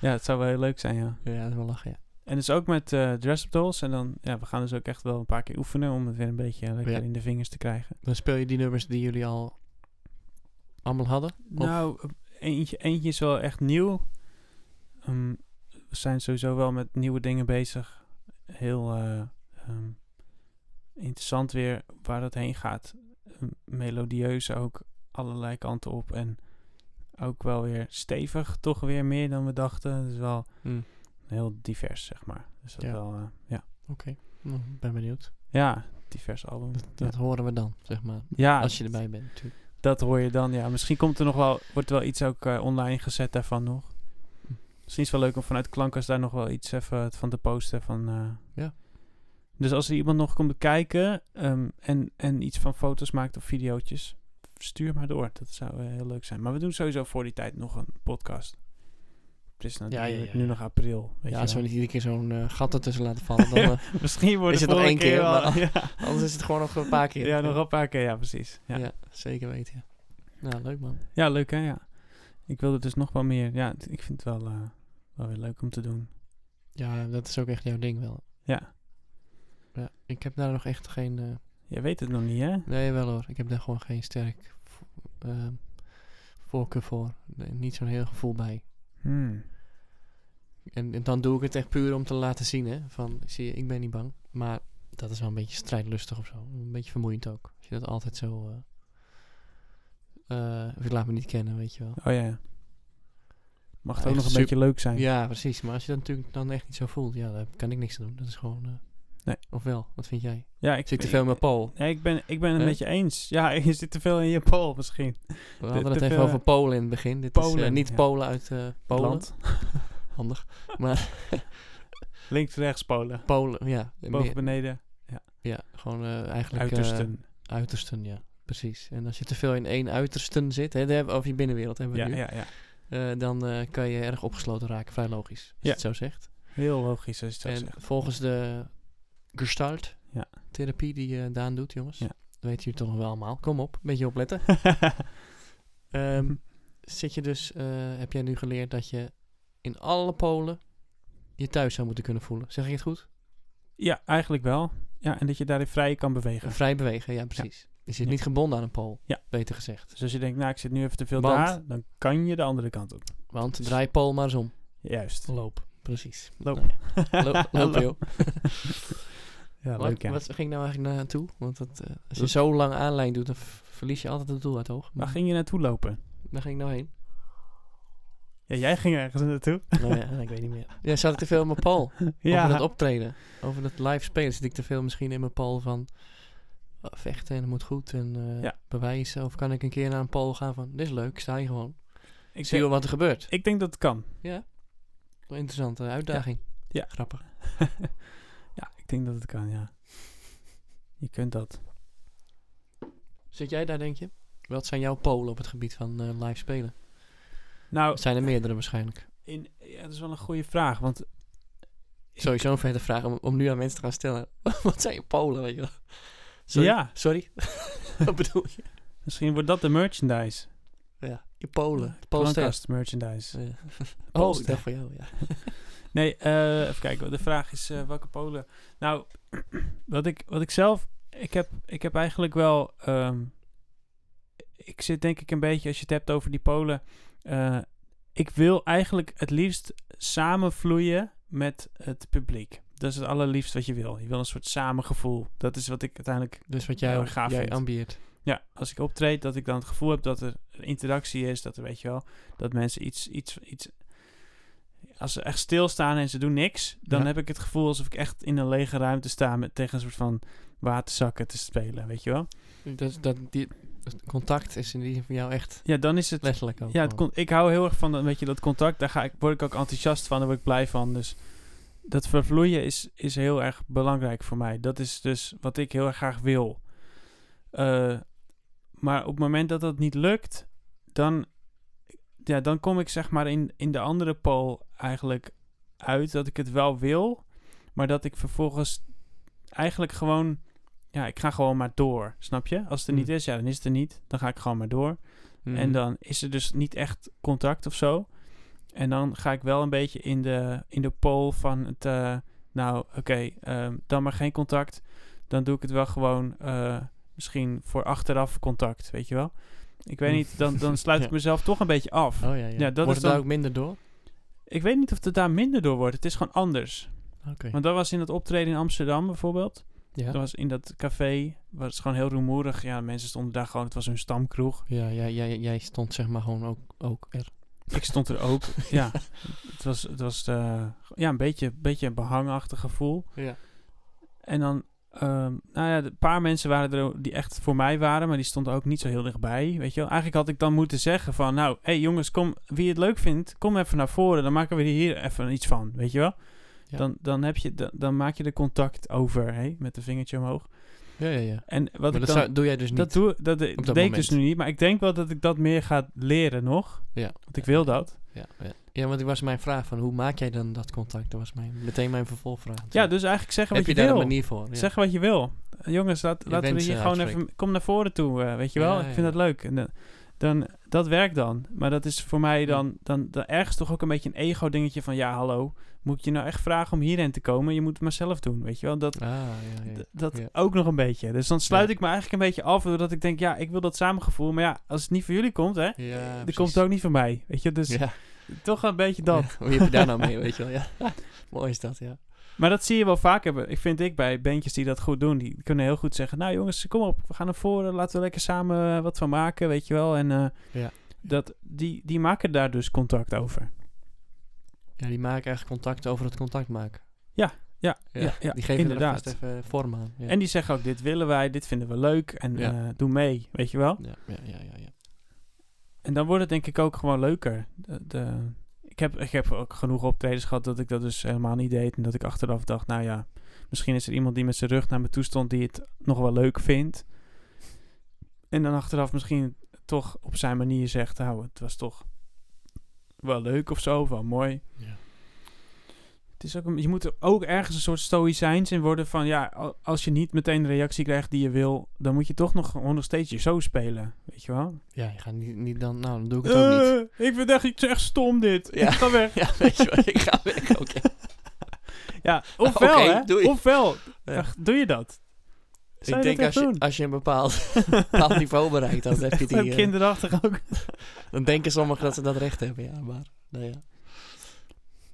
ja, het zou wel heel leuk zijn, ja.
Ja, dat is wel lachen, ja.
En dus ook met eh Dress Up Dolls. En dan, ja, we gaan dus ook echt wel een paar keer oefenen om het weer een beetje lekker
Ja.
in de vingers te krijgen.
Dan speel je die nummers die jullie al allemaal hadden.
Nou, eentje, eentje is wel echt nieuw. Ehm, we zijn sowieso wel met nieuwe dingen bezig. Heel eh, ehm, interessant weer waar dat heen gaat. Ehm, melodieus ook allerlei kanten op. En ook wel weer stevig, toch weer meer dan we dachten. Dus wel
Hmm.
heel divers, zeg maar. Dus dat
Ja.
wel, eh, ja.
Nou, ben benieuwd.
Ja, divers album.
Dat horen we dan, zeg maar.
Ja,
Als je erbij bent, natuurlijk.
Dat hoor je dan, ja. Misschien komt er nog wel, wordt wel iets ook eh, online gezet daarvan nog. Misschien is het wel leuk om vanuit Klankers daar nog wel iets even van te posten. Van, eh.
Ja.
Dus als er iemand nog komt kijken ehm, en, en iets van foto's maakt of videootjes, stuur maar door. Dat zou eh, heel leuk zijn. Maar we doen sowieso voor die tijd nog een podcast. Het is natuurlijk
ja, ja,
nu
ja.
nog april. Weet
Ja,
je
als we
wel.
niet iedere keer zo'n eh, gat ertussen laten vallen, dan, eh,
Misschien wordt
Is
het
het nog
volgende
één keer,
wel-
maar-
ja,
anders is het gewoon nog een paar keer.
ja, nog een paar keer. Ja, precies. Ja.
Ja. zeker weten. Ja. Nou, leuk man.
Ja, leuk hè, ja. Ik wilde dus nog wel meer. Ja, t- ik vind het wel, eh, wel weer leuk om te doen.
Ja, dat is ook echt jouw ding wel.
Ja.
Ja, ik heb daar nog echt geen... eh,
Jij weet het nog niet, hè?
Nee, wel hoor. Ik heb daar gewoon geen sterk vo- ehm, voorkeur voor. Nee, niet zo'n heel gevoel bij.
Hmm.
En, en dan doe ik het echt puur om te laten zien, hè. Van, zie je, ik ben niet bang. Maar dat is wel een beetje strijdlustig of zo. Een beetje vermoeiend ook. Als je dat altijd zo... eh, eh, of ik laat me niet kennen, weet je wel.
Oh ja. Mag het
Ja,
ook nog een
echt
beetje leuk zijn.
Ja, precies. Maar als je dat natuurlijk dan echt niet zo voelt, ja, daar kan ik niks aan doen. Dat is gewoon... eh,
Nee.
Of wel, wat vind jij?
Ja, ik
Zit ik te veel met Paul?
Nee, ik ben, ik ben het
Hè?
met je eens. Ja, je zit te veel in je pol misschien.
We hadden het
te
even
veel-
over Polen in het begin. Dit is eh,
Polen,
niet
ja.
Polen uit eh Polen.
Land.
Handig. Maar
Links, rechts, polen.
Polen, ja.
Boven,
Meer,
beneden,
ja, gewoon eh, eigenlijk... eh,
uitersten.
uitersten, ja. Precies. En als je te veel in één uitersten zit, hè, daar hebben we- of je binnenwereld hebben we
ja,
het nu,
ja, ja.
eh, dan eh, kan je erg opgesloten raken. Vrij logisch, als je
Ja.
het zo zegt.
Heel logisch als je dat
en
zegt.
volgens de
Ja.
Gestalt-therapie die eh, Daan doet, jongens.
Ja.
Dat weten jullie toch nog wel allemaal. Kom op, een beetje opletten. Ehm, zit je dus, eh, heb jij nu geleerd dat je in alle polen je thuis zou moeten kunnen voelen. Zeg ik het goed?
ja, eigenlijk wel. Ja, en dat je daarin vrij kan bewegen.
Vrij bewegen, ja precies. Je zit
Ja.
niet gebonden aan een pool,
Ja.
beter gezegd.
Dus als je denkt, nou, ik zit nu even te veel
Want-
daar, dan kan je de andere kant op.
Want draai pool maar eens om.
Juist.
Loop, precies.
Loop.
Nou ja. Loop, loop joh.
Ja,
Wat-
leuk hè.
Wat ging ik nou eigenlijk naartoe? Want dat, eh, als je zo lang aanlijn doet, dan v- verlies je altijd het doel uit het oog.
Waar ging je naartoe lopen?
Daar ging ik nou heen.
Ja, jij ging ergens naartoe.
Nou ja, ik weet niet meer. Ja, zat ik te veel in mijn pal.
ja,
Over dat optreden. Over dat live spelen zit ik te veel misschien in mijn pal van... oh, vechten en het moet goed en eh,
Ja.
bewijzen. Of kan ik een keer naar een pal gaan van... Dit is leuk, ik sta hier gewoon.
ik,
Zie wel
denk,
wat er gebeurt.
ik denk dat het kan.
Wel interessante uitdaging.
Ja.
Grappig.
Ja, ik denk dat het kan, ja. Je kunt dat.
Zit jij daar, denk je? Wat zijn jouw polen op het gebied van eh, live spelen?
Nou,
Het zijn er meerdere waarschijnlijk.
in, ja, dat is wel een goede vraag, want
Sowieso een vette vraag om, om nu aan mensen te gaan stellen. wat zijn je polen, weet je wel? Sorry.
ja,
Sorry. wat bedoel je?
misschien wordt dat de merchandise.
Ja, je polen. Polen.
Plankast merchandise.
Ja. Oh,
Polster.
ik dacht voor jou, ja.
Nee, eh, even kijken. De vraag is eh, welke polen. Nou, wat ik, wat ik zelf. Ik heb, ik heb eigenlijk wel. ehm, ik zit denk ik een beetje, als je het hebt over die polen. eh, ik wil eigenlijk het liefst samenvloeien met het publiek. Dat is het allerliefst wat je wil. Je wil een soort samengevoel. Dat is wat ik uiteindelijk
Dus wat jij,
Ja, gaaf
jij
vindt.
ambieert.
ja, als ik optreed, dat ik dan het gevoel heb dat er interactie is, dat er, weet je wel, dat mensen iets, iets, iets... Als ze echt stilstaan en ze doen niks, dan
Ja.
heb ik het gevoel alsof ik echt in een lege ruimte sta met, tegen een soort van waterzakken te spelen, weet je wel.
Dus dat die, het contact is in die zin voor jou echt
Ja, dan is het...
letterlijk ook.
Ja, het
gewoon.
kon, ik hou heel erg van dat, weet je, dat contact. Daar ga ik, word ik ook enthousiast van, daar word ik blij van. Dus dat vervloeien is, is heel erg belangrijk voor mij. Dat is dus wat ik heel erg graag wil. Eh, maar op het moment dat dat niet lukt, dan, ja, dan kom ik zeg maar in, in de andere pool eigenlijk uit dat ik het wel wil, maar dat ik vervolgens eigenlijk gewoon, ja, ik ga gewoon maar door, snap je? Als het er
Mm.
niet is, ja, dan is het er niet. Dan ga ik gewoon maar door.
Mhm.
En dan is er dus niet echt contact of zo. En dan ga ik wel een beetje in de, in de pool van het... eh, nou, oké, ehm, dan maar geen contact. Dan doe ik het wel gewoon eh, misschien voor achteraf contact, weet je wel? Ik weet
Mm.
niet, dan, dan sluit ik
Ja.
mezelf toch een beetje af.
Oh ja, ja.
Ja, dat
Wordt
is
het daar
dan-
ook minder door?
Ik weet niet of het daar minder door wordt. Het is gewoon anders.
Oké.
Want dat was in dat optreden in Amsterdam bijvoorbeeld. Dat
Ja.
was in dat café, was het gewoon heel rumoerig. Ja, mensen stonden daar gewoon, het was hun stamkroeg.
Ja, ja, ja, ja, jij stond zeg maar gewoon ook, ook er.
Ik stond er ook. ja, het was, het was eh, ja, een beetje, beetje een behangachtig gevoel.
Ja.
En dan, ehm, nou ja, de- een paar mensen waren er die echt voor mij waren, maar die stonden ook niet zo heel dichtbij. Weet je wel, eigenlijk had ik dan moeten zeggen van, nou, hé hey jongens, kom, wie het leuk vindt, kom even naar voren, dan maken we hier even iets van, weet je wel.
Ja.
Dan, dan, heb je, dan, dan maak je de contact over, hè, met een vingertje omhoog.
Ja, ja, ja.
En wat
maar
ik
dat
dan,
zou- doe jij dus niet.
dat, doe, dat, dat deed ik
moment.
dus nu niet, maar ik denk wel dat ik dat meer ga leren nog,
ja.
want ik wil dat.
Ja, ja. ja, want ik was mijn vraag van hoe maak jij dan dat contact? Dat was mijn, meteen mijn vervolgvraag.
Ja, dus eigenlijk zeggen
Heb
wat
je
je,
daar
wil.
een manier voor? Ja.
Zeg wat je wil. Eh, Jongens, laat,
Je
laten we
wensen
hier gewoon
uitspreken.
even... Kom naar voren toe, eh, weet je wel?
Ja,
ik vind
ja.
dat leuk. En, eh, dan, dat werkt dan. Maar dat is voor mij dan, dan, dan ergens toch ook een beetje een ego-dingetje van... Ja, hallo, moet ik je nou echt vragen om hierheen te komen? Je moet het maar zelf doen, weet je wel? Dat,
Ah, ja, ja.
d- dat
Ja.
ook nog een beetje. Dus dan sluit
Ja.
ik me eigenlijk een beetje af... doordat ik denk, ja, ik wil dat samengevoel. Maar ja, als het niet van jullie komt, hè...
Ja,
dan
precies.
komt het ook niet van mij, weet je? Dus
Ja.
toch een beetje dat.
Ja, Hoe heb je daar nou mee, weet je wel? Ja. Mooi is dat, ja.
Maar dat zie je wel vaker, ik vind ik, bij bandjes die dat goed doen. Die kunnen heel goed zeggen, nou jongens, kom op, we gaan naar voren. Laten we lekker samen eh, wat van maken, weet je wel. En eh,
Ja.
dat, die, die maken daar dus contact over.
Ja, die maken echt contact over het contact maken.
Ja, ja, ja,
die geven
inderdaad.
er vast even vorm aan. Ja.
En die zeggen ook, dit willen wij, dit vinden we leuk. En
Ja.
eh, doe mee, weet je wel.
ja, ja, ja, ja, ja.
En dan wordt het denk ik ook gewoon leuker. De, de- ik ik, heb, ik heb ook genoeg optredens gehad dat ik dat dus helemaal niet deed. En dat ik achteraf dacht, nou ja, misschien is er iemand die met zijn rug naar me toe stond die het nog wel leuk vindt. En dan achteraf misschien toch op zijn manier zegt, nou, het was toch wel leuk of zo, wel mooi.
Ja.
Het is ook een- je moet er ook ergens een soort stoïcijns in worden van, ja, al- als je niet meteen de reactie krijgt die je wil, dan moet je toch nog, gewoon nog steeds je show spelen, weet je wel?
Ja, je gaat niet, niet dan... Nou, dan doe ik het ook niet.
Eh, Ik vind echt, ik echt stom dit.
Ja.
Ik ga weg.
Ja, weet je wat, ik ga weg. Oké.
Ja, ofwel
Oké,
hè.
doei.
Ofwel.
Ja.
Echt, Doe je dat? Zou
Ik
je
denk
dat
als
echt
je,
doen?
als je een bepaald, bepaald niveau bereikt, dan heb je die...
Zo
eh,
kinderachtig ook.
dan denken sommigen dat ze dat recht hebben, ja. Maar, nou ja.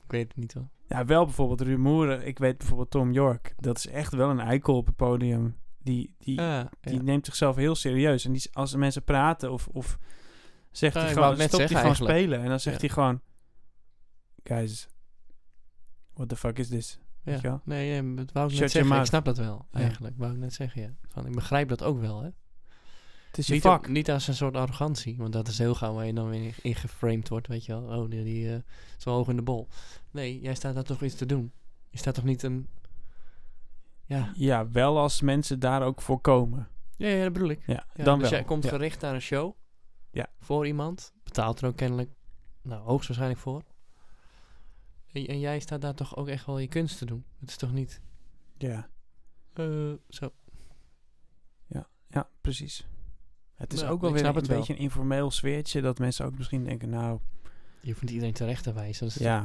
Ik weet het niet hoor.
Ja, wel bijvoorbeeld rumoeren. Ik weet bijvoorbeeld Tom York. Dat is echt wel een eikel op het podium. Die, die,
Ah,
die neemt zichzelf heel serieus. En die, als de mensen praten of, of zegt
Ja,
hij
ik
gewoon,
wou het net
stopt hij gewoon
zeggen eigenlijk.
spelen. En dan zegt
Ja.
hij gewoon, guys, what the fuck is this? Weet je wel?
Nee, nee, dat wou ik
Shut your
net zeggen.
mouth.
Ik snap dat wel,
Ja.
eigenlijk. Wou ik net zeggen, ja. Van, ik begrijp dat ook wel, hè.
Het is je
Niet,
vak.
niet als een soort arrogantie, want dat is heel gauw waar je dan weer in geframed wordt, weet je wel. Oh, die, die eh, is wel hoog in de bol. Nee, jij staat daar toch iets te doen. Je staat toch niet een... Ja,
Ja, wel als mensen daar ook voor komen.
ja, ja dat bedoel ik.
Ja,
Ja,
dan
dus
wel.
jij komt
Ja.
gericht naar een show.
Ja.
Voor iemand. Betaalt er ook kennelijk, nou, hoogstwaarschijnlijk voor. En, en jij staat daar toch ook echt wel je kunst te doen. Het is toch niet...
Ja,
eh, zo.
ja, precies. Het is
Nou,
ook wel
ik
weer
snap
een,
het wel.
beetje een informeel sfeertje dat mensen ook misschien denken, nou,
Je hoeft niet iedereen terecht te wijzen. Dat is-
ja,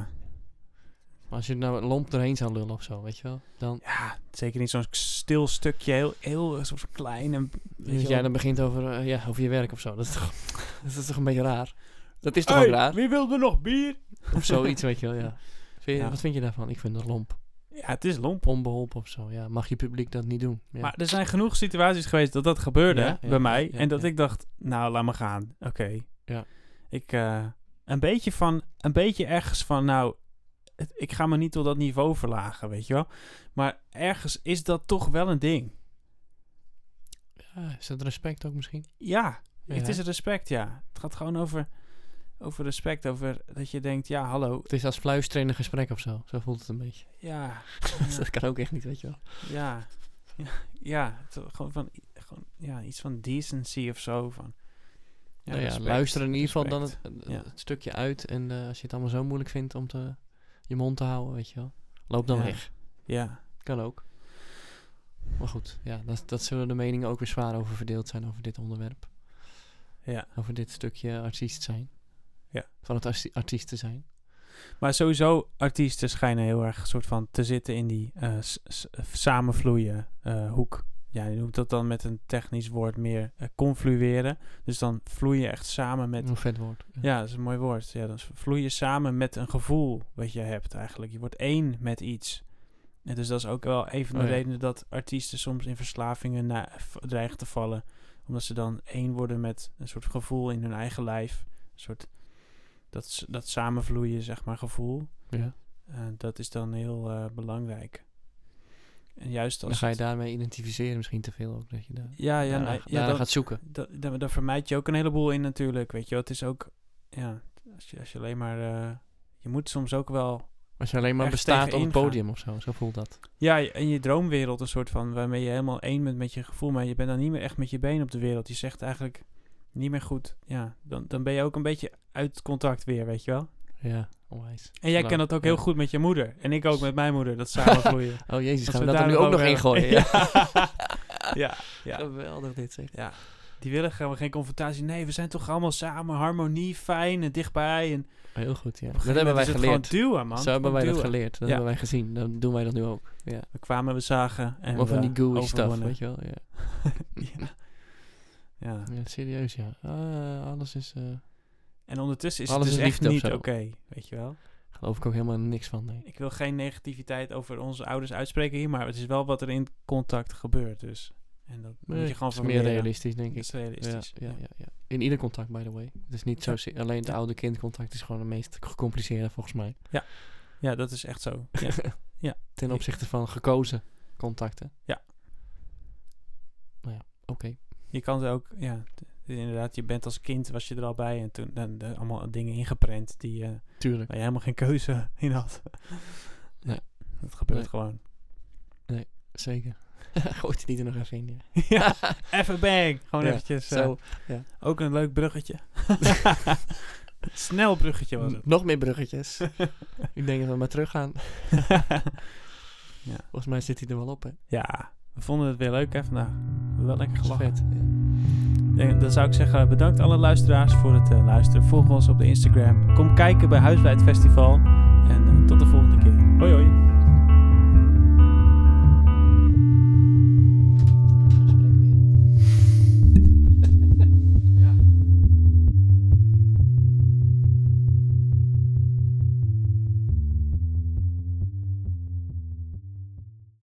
Maar als je nou lomp erheen zou lullen of zo, weet je wel. Dan,
ja zeker niet zo'n stil stukje, heel, heel soort klein en
weet jij dan begint over, eh, ja, over je werk of zo. Dat is toch, dat is toch een beetje raar. Dat is toch ook raar?
wie wil er nog bier?
Of zoiets, weet je wel, ja. Vind je-
Ja.
Wat vind je daarvan? Ik vind dat lomp.
Ja, het is lomp.
Onbeholpen of zo, ja. Mag je publiek dat niet doen? Ja.
Maar er zijn genoeg situaties geweest dat dat gebeurde
Ja, ja,
bij mij.
ja, ja,
en dat
ja.
ik dacht, nou, laat me gaan. Oké.
Ja.
Ik, eh, een beetje van, een beetje ergens van, nou, het- ik ga me niet tot dat niveau verlagen, weet je wel. Maar ergens is dat toch wel een ding.
Ja, is dat respect ook misschien?
Ja,
Ja.
het is respect, ja. Het gaat gewoon over, over respect, over dat je denkt, ja, hallo,
Het is als fluisteren in een gesprek of zo. Zo voelt het een beetje.
ja,
dat kan ook echt niet, weet je wel.
ja, ja, ja, het is gewoon van, gewoon, ja, iets van decency of zo, van...
Ja, nou ja,
respect,
luister in ieder geval dan het,
respect.
het-
Ja.
het stukje uit. En eh, als je het allemaal zo moeilijk vindt om te, je mond te houden, weet je wel. Loop dan
Ja.
weg.
Ja,
Kan ook. Maar goed, ja, dat, dat zullen de meningen ook weer zwaar over verdeeld zijn over dit onderwerp.
ja.
Over dit stukje artiest zijn.
Ja.
Van het arti- artiest te zijn.
Maar sowieso, artiesten schijnen heel erg een soort van te zitten in die eh, s- s- samenvloeien eh, hoek. Ja, je noemt dat dan met een technisch woord meer eh, conflueren. Dus dan vloei je echt samen met...
Een vet woord. Ja.
Ja, dat is een mooi woord. Ja, dan vloei je samen met een gevoel wat je hebt eigenlijk. Je wordt één met iets. En dus dat is ook wel een van de
Oh ja.
redenen dat artiesten soms in verslavingen na, v- dreigen te vallen. Omdat ze dan één worden met een soort gevoel in hun eigen lijf. Een soort... Dat, s- dat samenvloeien, zeg maar, gevoel.
Ja.
Eh, dat is dan heel eh, belangrijk. En juist als.
Dan ga je
het-
daarmee identificeren misschien te veel ook. Dat je daar,
ja, ja,
daar-
nou,
daar
ja dan,
gaat zoeken.
da- da- daar vermijd je ook een heleboel in natuurlijk. Weet je, wel. het is ook. Ja, als je, als je alleen maar. eh, je moet soms ook wel.
Als je alleen maar
Erg
bestaat op het
tegenin
podium of zo. Zo voelt dat.
Ja, je- in je droomwereld een soort van. waarmee je helemaal één bent met je gevoel. maar je bent dan niet meer echt met je benen op de wereld. Je zegt eigenlijk niet meer goed. Ja, dan, dan ben je ook een beetje uit contact weer, weet je wel.
Ja, onwijs.
En jij
Nou,
kan dat ook heel
ja.
goed met je moeder. En ik ook met mijn moeder, dat samenvloeien.
Oh jezus,
Als
gaan
we
we dat
daar
er nu
nog
ook nog
over
in gooien?
hebben.
Ja.
ja, ja.
Geweldig dit zeg.
Ja, die willen gewoon geen confrontatie. Nee, we zijn toch allemaal samen, harmonie, fijn en dichtbij. En
Heel goed, ja.
op een
Dat
gegeven
hebben wij
moment is het
geleerd.
Gewoon duwen, man.
Zo hebben wij
Gewoon
dat
duwen.
geleerd. Dat
Ja.
hebben wij gezien. Dan doen wij dat nu ook. Ja.
We kwamen, we zagen en
Maar van die
we
gooey stuff,
overwonnen.
weet je wel. Ja.
ja. ja.
Ja, serieus, ja. Ah, alles is... eh
En ondertussen is
Alles
het dus
is
echt
liefde of
niet
zo.
oké, weet je wel.
geloof ik ook helemaal niks van, nee.
Ik wil geen negativiteit over onze ouders uitspreken hier, maar het is wel wat er in contact gebeurt, dus. En dat moet
Nee,
je gewoon
het
van
is meer
leren.
realistisch, denk
Dat
ik.
is realistisch.
Ja, ja,
ja.
ja, ja. In ieder contact, by the way. Het is niet zo...
Ja.
si- Alleen het
Ja.
oude kindcontact is gewoon het meest gecompliceerde, volgens mij.
Ja, dat is echt zo. Ja.
Ten opzichte van gekozen contacten.
Ja.
Nou ja, oké.
Je kan er ook, ja, het- inderdaad, je bent als kind, was je er al bij. En toen dan, eh, allemaal dingen ingeprent die, eh,
Tuurlijk.
waar je helemaal geen keuze in had.
Nee.
Dat gebeurt
Nee.
gewoon.
Zeker. Gooit het niet er nog even in, ja.
ja, even bang. Gewoon
Ja,
eventjes. eh,
Zo,
ook een leuk bruggetje. Snel bruggetje was het.
nog meer bruggetjes. ik denk dat we maar teruggaan. Volgens mij zit hij er wel op, hè.
ja, we vonden het weer leuk hè vandaag. We hebben Wel lekker
Dat is
gelachen.
vet. Ja.
En dan zou ik zeggen, bedankt alle luisteraars voor het eh, luisteren. Volg ons op de Instagram. Kom kijken bij Huiswijd Festival.